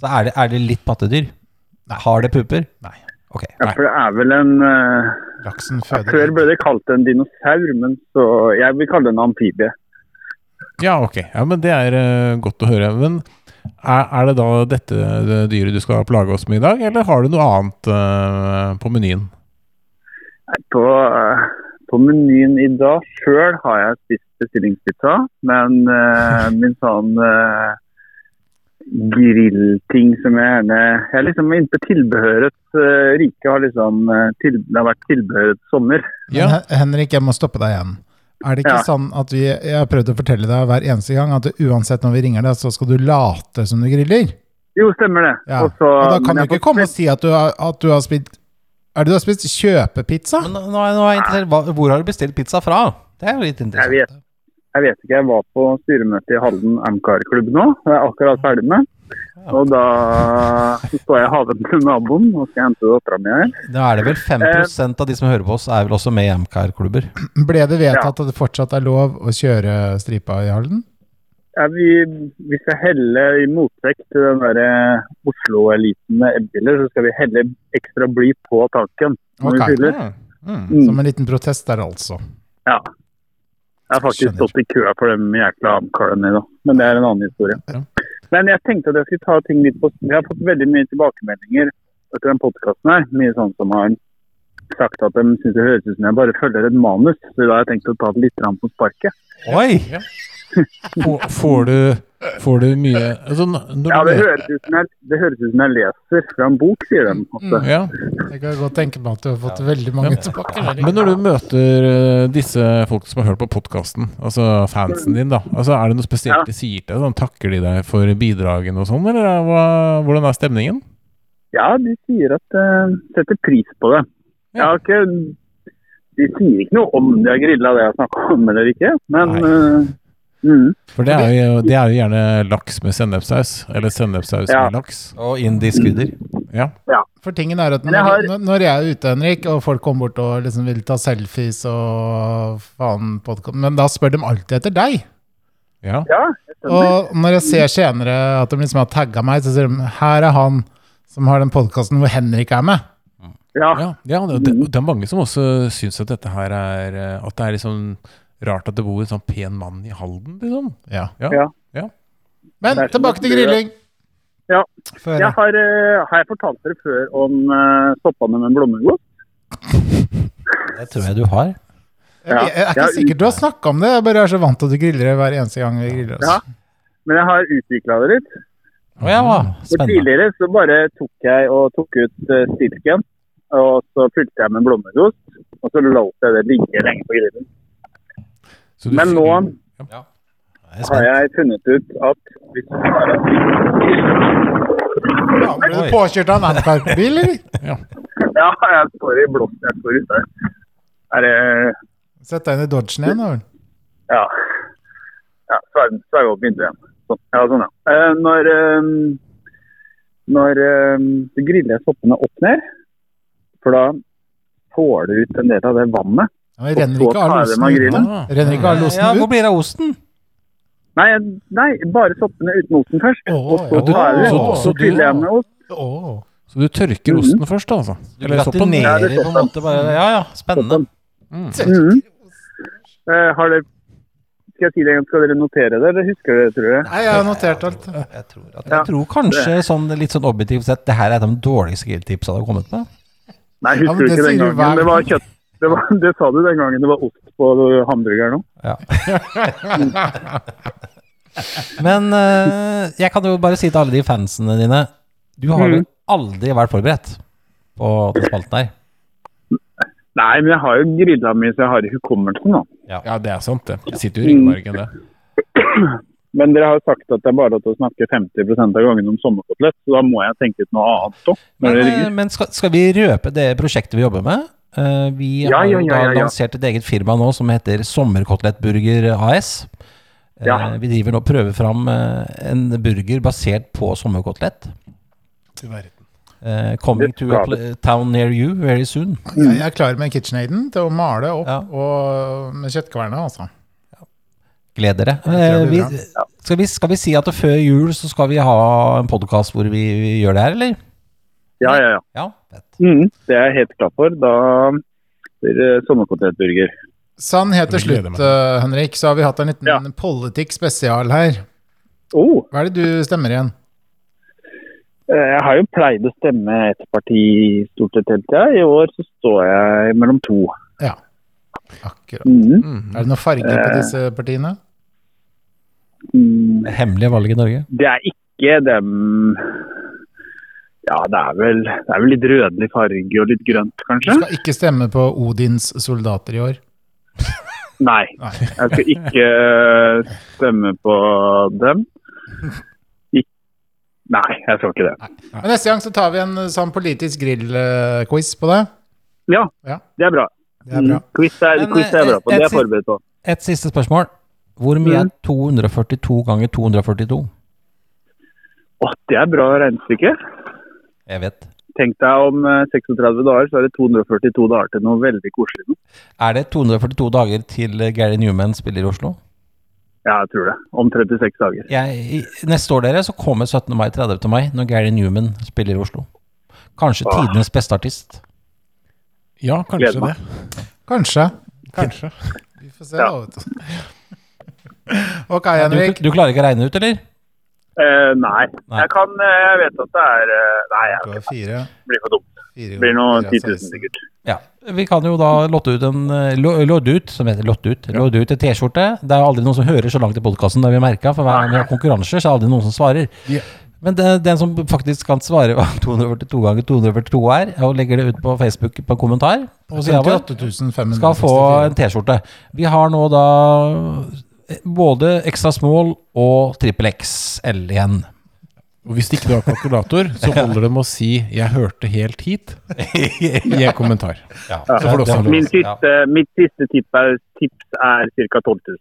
[SPEAKER 3] Så er det, er det litt pattedyr? Har det puper?
[SPEAKER 4] Nei.
[SPEAKER 3] Ok.
[SPEAKER 6] Ja, for det er vel en eh,
[SPEAKER 4] Laksen
[SPEAKER 6] ja, Før ble
[SPEAKER 4] føder
[SPEAKER 6] det kalt en dinosaur, men så Jeg vil kalle det en amfibie.
[SPEAKER 5] Ja, ok. Ja, men Det er eh, godt å høre. Men er, er det da dette det dyret du skal plage oss med i dag, eller har du noe annet eh, på menyen?
[SPEAKER 6] Nei, På, eh, på menyen i dag sjøl har jeg spist bestillingspizza, men eh, min sånn eh, grillting som jeg gjerne Jeg er liksom inne på tilbehørets eh, rike. Har liksom, eh, til, det har vært tilbehørets sommer.
[SPEAKER 4] Men Hen- Henrik, jeg må stoppe deg igjen. Er det ikke
[SPEAKER 6] Ja.
[SPEAKER 4] sånn at vi Jeg har prøvd å fortelle deg hver eneste gang at uansett når vi ringer deg, så skal du late som du griller?
[SPEAKER 6] Jo, stemmer det.
[SPEAKER 4] Ja.
[SPEAKER 6] Og så-
[SPEAKER 4] og da kan
[SPEAKER 6] men
[SPEAKER 4] du
[SPEAKER 6] jeg
[SPEAKER 4] ikke
[SPEAKER 6] får-
[SPEAKER 4] komme og si at du har, at du har spilt Er det du har spist kjøpepizza?
[SPEAKER 3] Men nå, nå er nå er jeg interessert. Hva, hvor har du bestilt pizza fra? Det er jo litt
[SPEAKER 6] Jeg vet,
[SPEAKER 3] interessant.
[SPEAKER 6] jeg vet ikke, jeg var på styremøte i Halden Amcar-klubb nå. Det er jeg akkurat ferdig med. Og da så står jeg i haven til naboen og skal hente dattera mi her.
[SPEAKER 3] Da er det vel
[SPEAKER 6] Eh.
[SPEAKER 3] 5 av de som hører på oss, er vel også med i MKR-klubber.
[SPEAKER 4] Ble det vedtatt at det fortsatt er lov å kjøre stripa i Halden?
[SPEAKER 6] Ja, vi, vi skal helle i motvekt til den der eh, Oslo-eliten med elbiler, så skal vi helle ekstra bly på tanken når
[SPEAKER 4] Ok.
[SPEAKER 6] vi fyller.
[SPEAKER 5] Mm.
[SPEAKER 6] Mm.
[SPEAKER 4] Som en liten protest der, altså.
[SPEAKER 6] Ja. Jeg har faktisk
[SPEAKER 4] Skjønner.
[SPEAKER 6] stått i kø for dem jækla Amcarene i dag, men det er en annen historie.
[SPEAKER 5] Ja.
[SPEAKER 6] Men jeg tenkte at jeg skulle ta ting litt på Jeg har fått veldig mye tilbakemeldinger etter den podkasten her. Mye sånn som har sagt at de syns det høres ut som jeg bare følger et manus. Så da har jeg tenkt å ta det litt grann på sparket.
[SPEAKER 3] Oi!
[SPEAKER 5] Får, får, du, får du mye altså, n- når
[SPEAKER 6] Ja,
[SPEAKER 5] du
[SPEAKER 6] det
[SPEAKER 5] møter-
[SPEAKER 6] høres ut som jeg, det høres ut som jeg leser fra en bok, sier de. At,
[SPEAKER 5] ja.
[SPEAKER 4] Jeg kan godt tenke meg at du har fått veldig mange tilbakemeldinger.
[SPEAKER 5] Men når du møter eh, disse folk som har hørt på podkasten, altså fansen din, da, altså, er det noe spesielt
[SPEAKER 6] Ja.
[SPEAKER 5] de sier til deg? Sånn, takker de deg for bidragene og sånn, eller er- hva, hvordan er stemningen?
[SPEAKER 6] ja, de sier at eh, setter pris på det. Jeg har ikke, de sier ikke noe om de har grilla det jeg snakka om eller ikke, men eh, mm,
[SPEAKER 5] For det er jo, det er jo gjerne laks med sennepssaus, eller sennepssaus
[SPEAKER 6] Ja.
[SPEAKER 5] med laks.
[SPEAKER 3] Og indisk krydder.
[SPEAKER 5] Ja.
[SPEAKER 4] For tingen er at
[SPEAKER 6] Men jeg
[SPEAKER 4] når,
[SPEAKER 6] har-
[SPEAKER 4] når jeg er ute, Henrik, og folk kommer bort og liksom vil ta selfies og faen podkast Men da spør de alltid etter deg.
[SPEAKER 5] ja.
[SPEAKER 6] ja. Jeg skjønner.
[SPEAKER 4] Og når jeg ser senere at de liksom har tagga meg, så sier de her er han som har den podkasten hvor Henrik er med.
[SPEAKER 6] ja. Mm.
[SPEAKER 5] Ja, ja det, det, det er mange som også syns at dette her er eh, At det er liksom rart at det bor en sånn pen mann i Halden, liksom.
[SPEAKER 4] Ja.
[SPEAKER 5] Ja.
[SPEAKER 6] Ja.
[SPEAKER 5] ja.
[SPEAKER 4] Men
[SPEAKER 6] Det er så
[SPEAKER 4] tilbake til
[SPEAKER 6] mye-
[SPEAKER 4] grilling.
[SPEAKER 6] Ja.
[SPEAKER 4] Før,
[SPEAKER 6] Jeg har, eh, har jeg fortalt dere før om uh, stoppene med blommegodt?
[SPEAKER 3] Det tror jeg du har.
[SPEAKER 4] jeg, jeg, er ikke
[SPEAKER 6] Ja.
[SPEAKER 4] sikker du har snakka om det, jeg bare er så vant til at du griller det hver eneste gang vi griller oss.
[SPEAKER 6] Ja. Men jeg har utvikla det litt.
[SPEAKER 3] Å ja,
[SPEAKER 6] For
[SPEAKER 3] spennende.
[SPEAKER 6] tidligere så bare tok jeg og tok ut eh, stilken, og så fylte jeg med blommegodt, og så lot jeg det ligge lenge på grillen.
[SPEAKER 5] Så Mm.
[SPEAKER 6] Men nå
[SPEAKER 3] Jeg er
[SPEAKER 6] har
[SPEAKER 3] spent.
[SPEAKER 6] jeg funnet ut at hvis du klarer å-
[SPEAKER 4] Ja, ble du
[SPEAKER 3] Oi.
[SPEAKER 4] påkjørt av en Amcar-bil, eller?
[SPEAKER 6] Ja, jeg står i blokk. Jeg står ute. Er det
[SPEAKER 4] Sett deg inn i Dodgen igjen, da vel.
[SPEAKER 6] Ja. ja Sverre Sverre opp vinduet igjen. Sånn. Ja, sånn, ja. Eh, når eh, når eh, du griller soppene opp ned, for da får du ut en del av det vannet
[SPEAKER 4] Ja, men renner
[SPEAKER 6] Og så
[SPEAKER 4] ikke all
[SPEAKER 6] tar jeg
[SPEAKER 4] osten
[SPEAKER 6] dem av
[SPEAKER 4] ut?
[SPEAKER 6] grillen.
[SPEAKER 4] da? Renner ikke all
[SPEAKER 3] Ja,
[SPEAKER 4] osten
[SPEAKER 3] hvor
[SPEAKER 4] ut?
[SPEAKER 3] blir det av osten?
[SPEAKER 6] Nei, jeg- nei bare soppene uten osten først.
[SPEAKER 4] Å,
[SPEAKER 6] og så
[SPEAKER 4] ja, du-
[SPEAKER 6] tar jeg det,
[SPEAKER 5] så-
[SPEAKER 6] og
[SPEAKER 5] så
[SPEAKER 6] så
[SPEAKER 5] du-
[SPEAKER 6] fyller jeg med ost.
[SPEAKER 4] Åh.
[SPEAKER 5] Så du
[SPEAKER 6] Mm.
[SPEAKER 5] tørker osten først, da, altså?
[SPEAKER 3] Du
[SPEAKER 5] Eller soppen?
[SPEAKER 6] Ja,
[SPEAKER 3] gratinerer
[SPEAKER 6] det er
[SPEAKER 3] på en måte bare Ja ja, spennende.
[SPEAKER 4] Mm.
[SPEAKER 6] Mhm. Eh, har dere Skal jeg si det igjen, skal dere notere det, eller husker dere det, tror jeg?
[SPEAKER 4] Nei, jeg har notert
[SPEAKER 3] Jeg
[SPEAKER 4] alt.
[SPEAKER 3] tror, at,
[SPEAKER 6] Ja.
[SPEAKER 3] jeg tror kanskje sånn, litt sånn objektivt sett det her er et av de dårligste grilltipsene jeg har kommet med.
[SPEAKER 6] Nei,
[SPEAKER 4] Ja, men
[SPEAKER 6] husker du
[SPEAKER 4] det
[SPEAKER 6] ikke den
[SPEAKER 4] sier du hver
[SPEAKER 6] gangen? Det var
[SPEAKER 4] gang.
[SPEAKER 6] kjøtt. Det, var, det sa du den gangen det var ost på hamburgeren òg.
[SPEAKER 3] Ja. Men eh, jeg kan jo bare si til alle de fansene dine Du
[SPEAKER 6] Mm.
[SPEAKER 3] har jo aldri vært forberedt på den spalten her.
[SPEAKER 6] Nei, men jeg har jo grilla mye, så jeg har hukommelsen, da.
[SPEAKER 5] Ja, det er sant, det. Det sitter jo i ryggmargen, det.
[SPEAKER 6] Men dere har jo sagt at det er bare lov til å snakke 50 av gangen om sommerkotelett, så da må jeg tenke ut noe annet òg.
[SPEAKER 3] Men, eh, men skal, skal vi røpe det prosjektet vi jobber med? Eh, vi
[SPEAKER 6] Ja,
[SPEAKER 3] har jo
[SPEAKER 6] ja, ja,
[SPEAKER 3] da
[SPEAKER 6] ja, ja.
[SPEAKER 3] lansert et eget firma nå som heter Sommerkotelettburger AS. Eh,
[SPEAKER 6] Ja.
[SPEAKER 3] Vi driver nå og prøver fram eh, en burger basert på sommerkotelett. Eh, coming
[SPEAKER 6] Det
[SPEAKER 3] to a
[SPEAKER 6] skal
[SPEAKER 3] pl town near you very soon.
[SPEAKER 4] Jeg jeg er klar med KitchenAiden til å male opp
[SPEAKER 3] Ja.
[SPEAKER 4] og med kjøttkverna, altså.
[SPEAKER 3] Gled dere.
[SPEAKER 4] det
[SPEAKER 3] Eh,
[SPEAKER 4] blir
[SPEAKER 3] vi,
[SPEAKER 4] bra.
[SPEAKER 3] skal, vi, skal vi si at før jul så skal vi ha en podkast hvor vi, vi gjør det her, eller?
[SPEAKER 6] Ja, ja, ja.
[SPEAKER 3] Ja, fett.
[SPEAKER 6] Mhm, det er jeg helt klar for. Da blir det sommerkotelettburger.
[SPEAKER 4] Sann Sånn, helt til
[SPEAKER 5] Jeg gleder
[SPEAKER 4] slutt,
[SPEAKER 5] meg.
[SPEAKER 4] eh, Henrik, så har vi hatt en liten
[SPEAKER 6] Ja.
[SPEAKER 4] politikk spesial her.
[SPEAKER 6] Oh,
[SPEAKER 4] Hva er det du stemmer igjen?
[SPEAKER 6] eh, jeg har jo pleid å stemme ett parti stort sett hele tida. I år så står jeg mellom to.
[SPEAKER 4] Ja, akkurat.
[SPEAKER 6] Mhm.
[SPEAKER 4] Er det noen farger på
[SPEAKER 6] Eh.
[SPEAKER 4] disse partiene?
[SPEAKER 6] Mm,
[SPEAKER 3] Hemmelige valg i Norge.
[SPEAKER 6] Det er ikke dem Ja, det er vel, det er vel litt rødlig farge og litt grønt,
[SPEAKER 4] Du
[SPEAKER 6] kanskje?
[SPEAKER 4] skal ikke stemme på Odins soldater i år.
[SPEAKER 6] Nei. Jeg skal ikke eh, stemme på dem. Ik Nei, jeg skal ikke det.
[SPEAKER 4] Men neste gang så tar vi en eh, sånn politisk grillquiz på det.
[SPEAKER 6] Ja,
[SPEAKER 4] Ja.
[SPEAKER 6] det er bra.
[SPEAKER 4] Det er bra.
[SPEAKER 6] Mm, Quiz er,
[SPEAKER 3] Men,
[SPEAKER 6] quiz er
[SPEAKER 3] eh,
[SPEAKER 6] bra på. Det er
[SPEAKER 3] et
[SPEAKER 6] jeg forberedt på.
[SPEAKER 3] Et siste spørsmål. Hvor mye
[SPEAKER 4] Mm.
[SPEAKER 3] er 242 ganger 242?
[SPEAKER 6] Å, det er bra regnestykke.
[SPEAKER 3] Jeg vet.
[SPEAKER 6] Tenk deg om eh, 36 dager, så er det 242 dager til noe veldig koselig. nå.
[SPEAKER 3] Er det 242 dager til eh, Gary Newman spiller i Oslo?
[SPEAKER 6] Ja, jeg tror det. Om 36 dager.
[SPEAKER 3] Jeg, i- neste år, dere, så kommer 17. mai 30. mai, når Gary Newman spiller i Oslo. Kanskje tidenes beste artist.
[SPEAKER 5] Ja, kanskje
[SPEAKER 6] Gleder meg.
[SPEAKER 5] det.
[SPEAKER 4] Kanskje.
[SPEAKER 5] Kanskje.
[SPEAKER 4] Vi får se, da. vet du. Ok,
[SPEAKER 3] Du,
[SPEAKER 4] Henrik.
[SPEAKER 3] du klarer ikke å regne ut, eller?
[SPEAKER 6] Eh, nei.
[SPEAKER 3] Nei.
[SPEAKER 6] Jeg kan eh, Jeg vet at det er eh, Nei,
[SPEAKER 4] Du
[SPEAKER 6] jeg
[SPEAKER 4] har fire.
[SPEAKER 6] blir for dum.
[SPEAKER 4] fire
[SPEAKER 6] Det blir noe
[SPEAKER 4] fire av
[SPEAKER 6] 10 000
[SPEAKER 4] seksten.
[SPEAKER 6] sikkert.
[SPEAKER 3] Ja. Vi kan jo da lotte ut en eh, lo- lodde ut, som heter lotte ut, lodde ut en T-skjorte. Det er aldri noen som hører så langt i podkasten, det har vi merka. For hver gang vi har konkurranser, så er det aldri noen som svarer.
[SPEAKER 5] Ja.
[SPEAKER 3] Men det, den som faktisk kan svare hva 242 ganger 242 er, og legger det ut på Facebook på en kommentar, på sida vår,
[SPEAKER 4] 58 564.
[SPEAKER 3] skal få en T-skjorte. Vi har nå da eh, både ekstra small og trippel XL igjen.
[SPEAKER 5] Og hvis ikke du har kalkulator, så holder det med å si 'jeg hørte helt hit' i en kommentar.
[SPEAKER 3] Så
[SPEAKER 5] får du også en
[SPEAKER 6] Min siste, Mitt siste tips er, tips er ca. 12 000.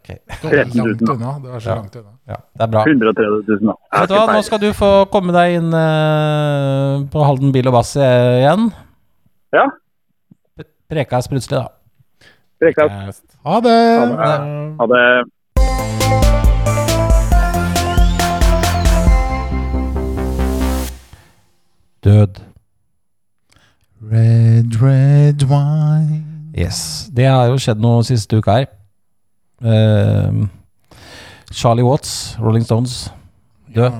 [SPEAKER 4] Det var
[SPEAKER 6] 13 000.
[SPEAKER 4] langt unna. Det var så
[SPEAKER 3] Ja.
[SPEAKER 4] langt unna.
[SPEAKER 3] Ja, det er bra.
[SPEAKER 6] 130 000, da. Jeg har
[SPEAKER 3] Vet du hva,
[SPEAKER 6] ikke
[SPEAKER 3] nå
[SPEAKER 6] peiling.
[SPEAKER 3] skal du få komme deg inn eh, på Halden bil og bass eh, igjen.
[SPEAKER 6] Ja,
[SPEAKER 3] Preka er sprutselig, da.
[SPEAKER 6] rekka.
[SPEAKER 4] Ha det!
[SPEAKER 5] Eh,
[SPEAKER 6] Ha det.
[SPEAKER 3] Død.
[SPEAKER 4] Red, red wine
[SPEAKER 3] Yes. Det har jo skjedd noe siste uka her. Eh, Charlie Watts, Rolling Stones, død.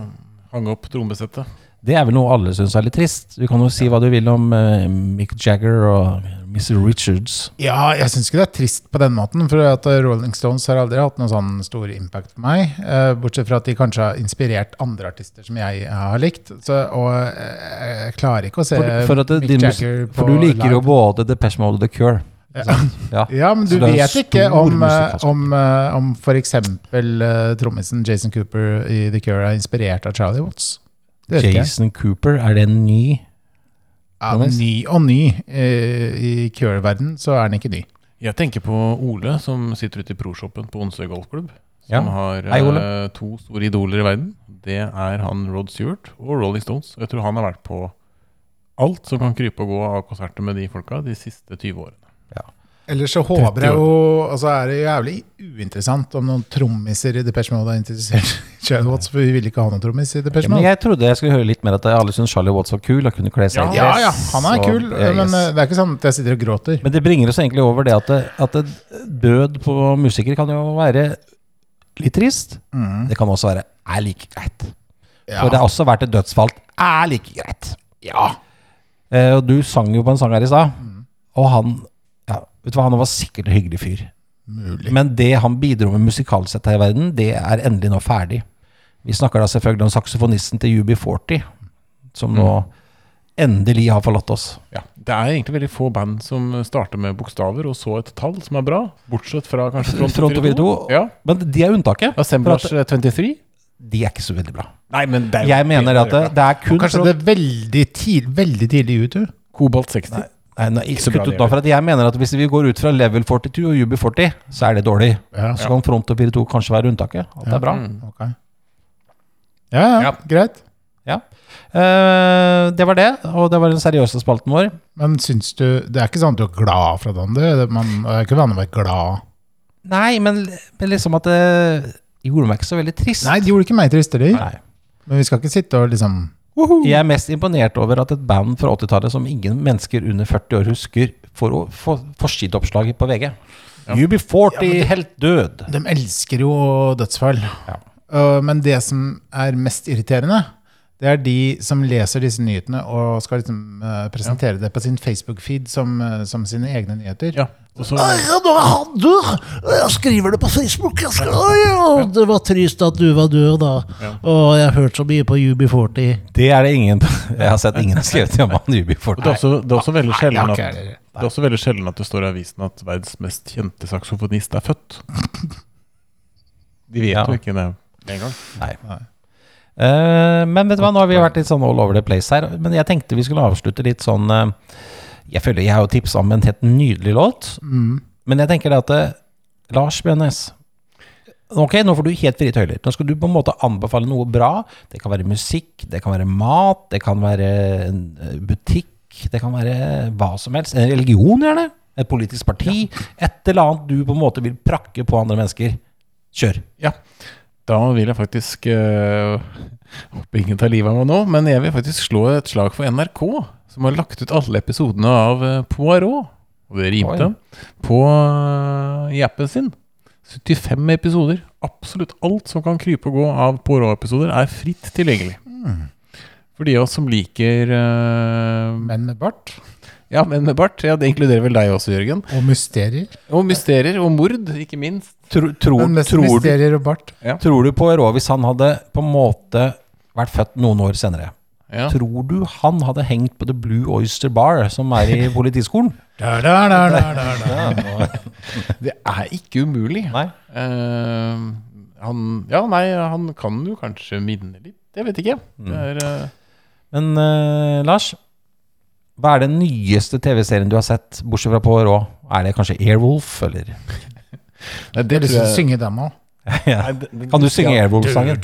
[SPEAKER 5] Hang opp trommesettet.
[SPEAKER 3] Det er vel noe alle syns er litt trist. Du kan jo si hva du vil om eh, Mick Jagger og Mr. Richards.
[SPEAKER 4] Ja, jeg syns ikke det er trist på den måten, for at Rolling Stones har aldri hatt noen sånn stor impact på meg. eh, Bortsett fra at de kanskje har inspirert andre artister som jeg har likt. Så, og eh, jeg klarer ikke å se
[SPEAKER 3] For, for, at
[SPEAKER 4] Mick
[SPEAKER 3] din, mus-
[SPEAKER 4] Jagger på
[SPEAKER 3] for du liker jo
[SPEAKER 4] live.
[SPEAKER 3] både Depeche Mode og The Cure.
[SPEAKER 4] Ja.
[SPEAKER 3] Ja.
[SPEAKER 4] Ja, men
[SPEAKER 3] Så
[SPEAKER 4] du
[SPEAKER 3] det er en
[SPEAKER 4] vet ikke
[SPEAKER 3] stor
[SPEAKER 4] om, eh,
[SPEAKER 3] musikalsk-
[SPEAKER 4] om, eh, om f.eks. trommisen Jason Cooper i The Cure er inspirert av Charlie Watts. Det vet ikke jeg.
[SPEAKER 3] Jason Cooper, er det en ny?
[SPEAKER 4] Ja, men ny og ny. eh, I Cure-verden så er han ikke ny.
[SPEAKER 5] Jeg tenker på Ole, som sitter ute i proshoppen på Onsøy golfklubb.
[SPEAKER 3] Ja.
[SPEAKER 5] Som har
[SPEAKER 3] Hei, Ole.
[SPEAKER 5] eh, to store idoler i verden. Det er han Rod Stewart og Rolling Stones. Og Jeg tror han har vært på alt som kan krype og gå av konserter med de folka de siste 20 årene.
[SPEAKER 4] Ellers så håper jeg jo altså er det jævlig uinteressant om noen trommiser i Depeche Mode er interessert i Charlie Watts, for vi ville ikke ha noen trommis i
[SPEAKER 3] Ja,
[SPEAKER 4] Depeche
[SPEAKER 3] men
[SPEAKER 4] Mode.
[SPEAKER 3] jeg trodde jeg skulle høre litt mer at alle syntes Charlie Watts var kul. Og kunne kle seg i
[SPEAKER 4] Ja, ja,
[SPEAKER 3] dress,
[SPEAKER 4] han er
[SPEAKER 3] og-
[SPEAKER 4] kul,
[SPEAKER 3] ja,
[SPEAKER 4] men
[SPEAKER 3] yes.
[SPEAKER 4] eh, det er ikke sånn at jeg sitter og gråter.
[SPEAKER 3] Men det bringer oss egentlig over det at, det, at det, død på musikere kan jo være litt trist.
[SPEAKER 4] Mm.
[SPEAKER 3] Det kan også være er like greit.
[SPEAKER 4] Ja.
[SPEAKER 3] For det har også vært et dødsfall. Er like greit. Ja. Eh, og du sang jo på en sang her i stad, og han ja, Vet du hva, han var sikkert en hyggelig fyr. Men det han bidro med musikalsk sett her i verden, det er endelig nå ferdig. Vi snakker da selvfølgelig om saksofonisten til UB40, som nå endelig har forlatt oss.
[SPEAKER 5] Ja, det er egentlig veldig få band som starter med bokstaver og så et tall som er bra. Bortsett fra kanskje Front
[SPEAKER 3] Front
[SPEAKER 5] 242.
[SPEAKER 3] 242.
[SPEAKER 5] Ja.
[SPEAKER 3] Men de er unntaket. For
[SPEAKER 5] Assemblage
[SPEAKER 3] at
[SPEAKER 5] 23.
[SPEAKER 3] de er ikke så veldig bra.
[SPEAKER 5] Nei, men det er jo
[SPEAKER 3] Jeg mener at
[SPEAKER 5] eh,
[SPEAKER 3] det, det er kun
[SPEAKER 4] Kanskje det er veldig, tid, veldig tidlig ut, du.
[SPEAKER 5] Kobolt 60.
[SPEAKER 3] Nei, nei, ikke
[SPEAKER 5] så bra
[SPEAKER 3] kutt ut
[SPEAKER 5] det
[SPEAKER 3] nå,
[SPEAKER 5] gjør.
[SPEAKER 3] for at jeg mener at hvis vi går ut fra level 42 og UB40, så er det dårlig.
[SPEAKER 4] Ja. Mm.
[SPEAKER 3] Så kan Front og 42 kanskje være unntaket. At det er bra.
[SPEAKER 4] Ok. Ja, ja,
[SPEAKER 5] Ja.
[SPEAKER 4] greit.
[SPEAKER 3] Ja. Eh, det var det, og det var den seriøse spalten vår.
[SPEAKER 4] Men syns du Det er ikke sånn at du er glad for at han dør? det- Man er ikke vanlig å være glad.
[SPEAKER 3] Nei, men, men liksom at det gjorde meg ikke så veldig trist.
[SPEAKER 4] Nei, det gjorde ikke meg tristere.
[SPEAKER 3] Nei.
[SPEAKER 4] Men vi skal ikke sitte og liksom
[SPEAKER 3] Jeg er mest imponert over at et band fra 80-tallet som ingen mennesker under 40 år husker, får å- får forsideoppslag på VG. UB40 helt død.
[SPEAKER 4] De elsker jo dødsfall. Øh, men det som er mest irriterende, det er de som leser disse nyhetene og skal liksom øh, presentere det på sin Facebook-feed som, øh, som sine egne nyheter.
[SPEAKER 5] Ja. Og så,
[SPEAKER 8] Ja, nå er han dør! Jeg skriver det på Facebook. Jeg skal, Oi, ja, det var trist at du var død, da. Og jeg har hørt så mye på UB40.
[SPEAKER 3] Det er det ingen Jeg har sett ingen har skrevet om han UB40.
[SPEAKER 5] det, er også, det er også veldig
[SPEAKER 4] Nei,
[SPEAKER 5] sjelden
[SPEAKER 4] jeg
[SPEAKER 5] at
[SPEAKER 4] har ikke det.
[SPEAKER 5] det er også veldig sjelden at det står i avisen at verdens mest kjente saksofonist er født. De vet
[SPEAKER 3] Ja.
[SPEAKER 5] jo ikke det med en gang.
[SPEAKER 3] Nei. Eh, men vet du hva, nå har vi vært litt sånn all over the place her. Men jeg tenkte vi skulle avslutte litt sånn eh, Jeg føler jeg har jo tipsa om en helt nydelig låt. Men jeg tenker det at eh, Lars Bjørnes Ok, nå får du helt frie tøyler. Nå skal du på en måte anbefale noe bra. Det kan være musikk, det kan være mat, det kan være en eh, butikk, det kan være hva som helst. En religion, gjerne. Et politisk parti. Et eller annet du på en måte vil prakke på andre mennesker. Kjør.
[SPEAKER 5] Ja. Da vil jeg faktisk eh, Håper ingen tar livet av meg nå, men jeg vil faktisk slå et slag for NRK, som har lagt ut alle episodene av eh, Poirot. Og det rimte. På eh, i appen sin. 75 episoder. Absolutt alt som kan krype og gå av Poirot-episoder, er fritt tilgjengelig. For de av oss som liker eh,
[SPEAKER 4] Menn med bart
[SPEAKER 5] Ja, men med bart. Ja, det inkluderer vel deg også, Jørgen.
[SPEAKER 4] og mysterier.
[SPEAKER 5] Og mysterier og mord, ikke minst.
[SPEAKER 3] Tror, tror,
[SPEAKER 4] Men mest
[SPEAKER 3] tror du
[SPEAKER 4] mysterier og bart.
[SPEAKER 3] Tror du på Ero hvis han hadde på en måte vært født noen år senere?
[SPEAKER 5] Ja.
[SPEAKER 3] Tror du han hadde hengt på The Blue Oyster Bar, som er i politiskolen?
[SPEAKER 4] Da, da, da, da, da, da.
[SPEAKER 5] Det er ikke umulig.
[SPEAKER 3] Nei.
[SPEAKER 5] Eh, han Ja, nei, han kan jo kanskje minne litt. Jeg vet ikke.
[SPEAKER 3] Mm.
[SPEAKER 5] Det er, eh,
[SPEAKER 3] Men eh, Lars, hva er den nyeste TV-serien du har sett, bortsett fra på Ero? Er det kanskje Airwolf, eller?
[SPEAKER 5] nei,
[SPEAKER 4] Jeg
[SPEAKER 5] det
[SPEAKER 4] har lyst til å
[SPEAKER 5] tror jeg
[SPEAKER 4] synge dem òg.
[SPEAKER 3] Ja.
[SPEAKER 5] Nei, det- det-
[SPEAKER 3] Kan du synge Airwolf-sangen?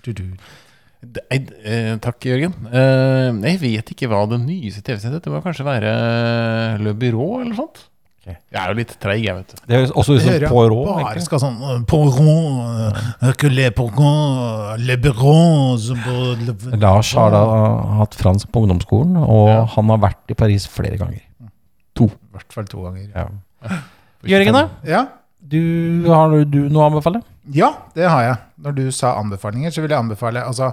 [SPEAKER 5] det- nei, eh, takk, Jørgen. Eh, jeg vet ikke hva den nyeste TV-serien heter. Det må kanskje være eh, Le Byrå eller noe sånt.
[SPEAKER 3] Ok.
[SPEAKER 5] Jeg er jo litt treig, jeg, vet du.
[SPEAKER 3] Det høres også ut som Poirot.
[SPEAKER 4] Bare
[SPEAKER 3] egentlig.
[SPEAKER 4] skal sånn øh, Poirot, øh, que le Poirot, le Biron, så bo- le-
[SPEAKER 3] Lars har da hatt fransk på ungdomsskolen, og
[SPEAKER 5] Ja.
[SPEAKER 3] han har vært i Paris flere ganger.
[SPEAKER 4] I hvert fall to ganger.
[SPEAKER 3] Jørgen, da?
[SPEAKER 4] Ja.
[SPEAKER 3] Du, har du noe å anbefale?
[SPEAKER 4] Ja, det har jeg. Når du sa anbefalinger, så vil jeg anbefale altså,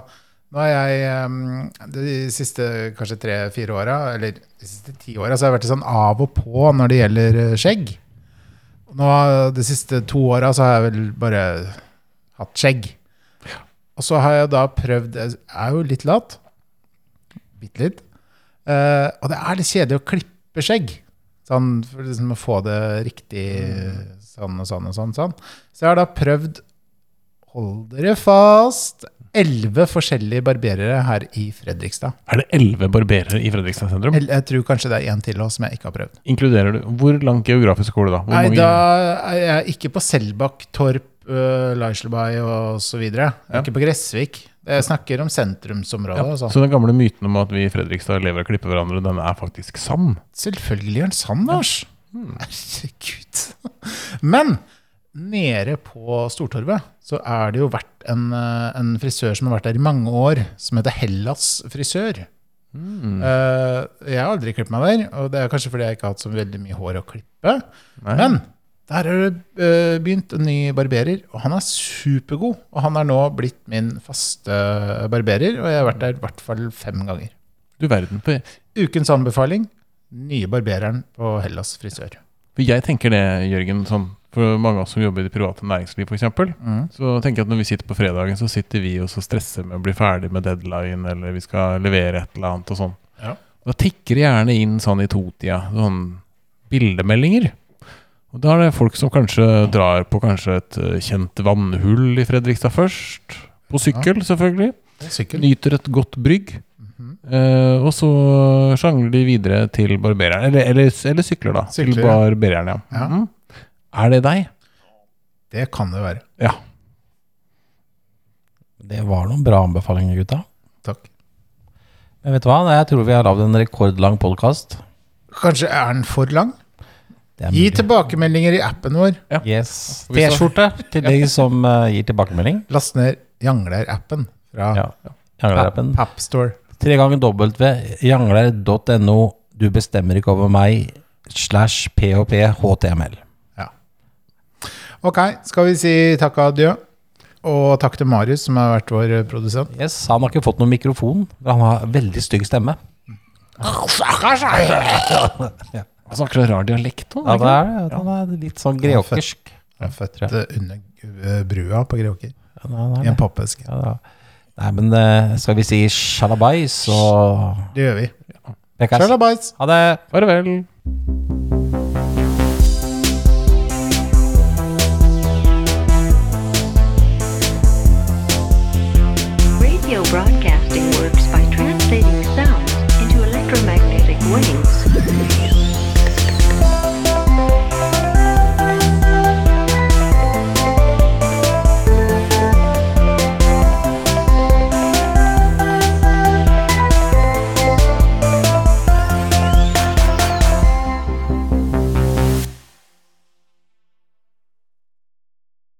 [SPEAKER 4] Nå har jeg ehm, de siste kanskje tre-fire åra, eller de siste ti åra, så har jeg vært litt sånn av og på når det gjelder eh, skjegg. Nå har- De siste to åra så har jeg vel bare hatt skjegg. Og så har jeg da prøvd Jeg er jo litt lat. Bitte litt. Eh, og det er litt kjedelig å klippe skjegg. Sånn, for liksom å få det riktig sånn og sånn og sånn. sånn. Så jeg har da prøvd Hold dere fast! Elleve forskjellige barberere her i Fredrikstad.
[SPEAKER 5] Er det elleve barberere i Fredrikstad sentrum?
[SPEAKER 4] Eller jeg tror kanskje det er én til også som jeg ikke har prøvd.
[SPEAKER 5] Inkluderer du Hvor langt geografisk går du, da? Hvor
[SPEAKER 4] Nei,
[SPEAKER 5] mange-
[SPEAKER 4] da er jeg ikke på Selbakk, Torp, uh, Leiselby og så videre. Jeg er Ikke på Gressvik. Det Jeg snakker om sentrumsområdet.
[SPEAKER 5] Ja.
[SPEAKER 4] altså.
[SPEAKER 5] Så den gamle myten om at vi i Fredrikstad lever og klipper hverandre, den er faktisk sann.
[SPEAKER 4] Selvfølgelig er den sann, Lars.
[SPEAKER 5] Hmm.
[SPEAKER 4] Herregud. Men nede på Stortorvet så er det jo vært en, eh, en frisør som har vært der i mange år, som heter Hellas frisør. Eh, jeg har aldri klippet meg der, og det er kanskje fordi jeg ikke har hatt så veldig mye hår å klippe. Men der har det eh, begynt en ny barberer, og han er supergod. Og han er nå blitt min faste barberer, og jeg har vært der i hvert fall fem ganger.
[SPEAKER 5] Du verden. For
[SPEAKER 4] Ukens anbefaling nye barbereren på Hellas frisør.
[SPEAKER 5] For jeg tenker det, Jørgen, sånn, for mange av oss som jobber i det private næringsliv f.eks.,
[SPEAKER 4] Mm.
[SPEAKER 5] så tenker jeg at når vi sitter på fredagen, så sitter vi og så stresser med å bli ferdig med deadline, eller vi skal levere et eller annet og sånn.
[SPEAKER 4] Ja.
[SPEAKER 5] Da tikker det gjerne inn sånn i totida, sånn bildemeldinger. Og da er det folk som kanskje drar på kanskje et eh, kjent vannhull i Fredrikstad først. På sykkel, selvfølgelig.
[SPEAKER 4] Sykkel.
[SPEAKER 5] Nyter et godt brygg.
[SPEAKER 4] Mhm.
[SPEAKER 5] eh, og så sjangler de videre til barbereren. Eller, eller, eller sykler, da.
[SPEAKER 4] Sykler,
[SPEAKER 5] til
[SPEAKER 4] ja.
[SPEAKER 5] barbereren, ja.
[SPEAKER 4] Ja.
[SPEAKER 5] Mhm. Er det deg?
[SPEAKER 4] Det kan det være.
[SPEAKER 5] Ja.
[SPEAKER 3] Det var noen bra anbefalinger, gutta.
[SPEAKER 4] Takk.
[SPEAKER 3] Men vet du hva? Jeg tror vi har lagd en rekordlang podkast.
[SPEAKER 4] Kanskje er den for lang? Gi tilbakemeldinger i appen vår.
[SPEAKER 3] Yes. T-skjorte til de som eh, gir tilbakemelding.
[SPEAKER 4] Last ned Jangler-appen fra
[SPEAKER 3] Ja. Janglerappen.
[SPEAKER 4] Papstore.
[SPEAKER 3] Tre ganger W, jangler.no. Du bestemmer ikke over meg. Slash php html.
[SPEAKER 4] Ok, skal vi si takk og adjø? Og takk til Marius, som har vært vår produsent.
[SPEAKER 3] Yes, han har ikke fått noen mikrofon. men Han har veldig stygg stemme.
[SPEAKER 5] Han snakker så rar dialekt nå.
[SPEAKER 3] Ja, det er, det. han er litt sånn greåkersk.
[SPEAKER 4] Han er født eh, under eh, brua på Greåker.
[SPEAKER 3] Ja, han er
[SPEAKER 4] I en
[SPEAKER 3] det.
[SPEAKER 4] pappeske.
[SPEAKER 3] Ja, det er. Nei, men eh, skal vi si sjalabais og
[SPEAKER 4] Det gjør vi.
[SPEAKER 3] Prekkas?
[SPEAKER 4] Sjalabais!
[SPEAKER 3] Ha det!
[SPEAKER 5] Farvel.
[SPEAKER 3] Farvel.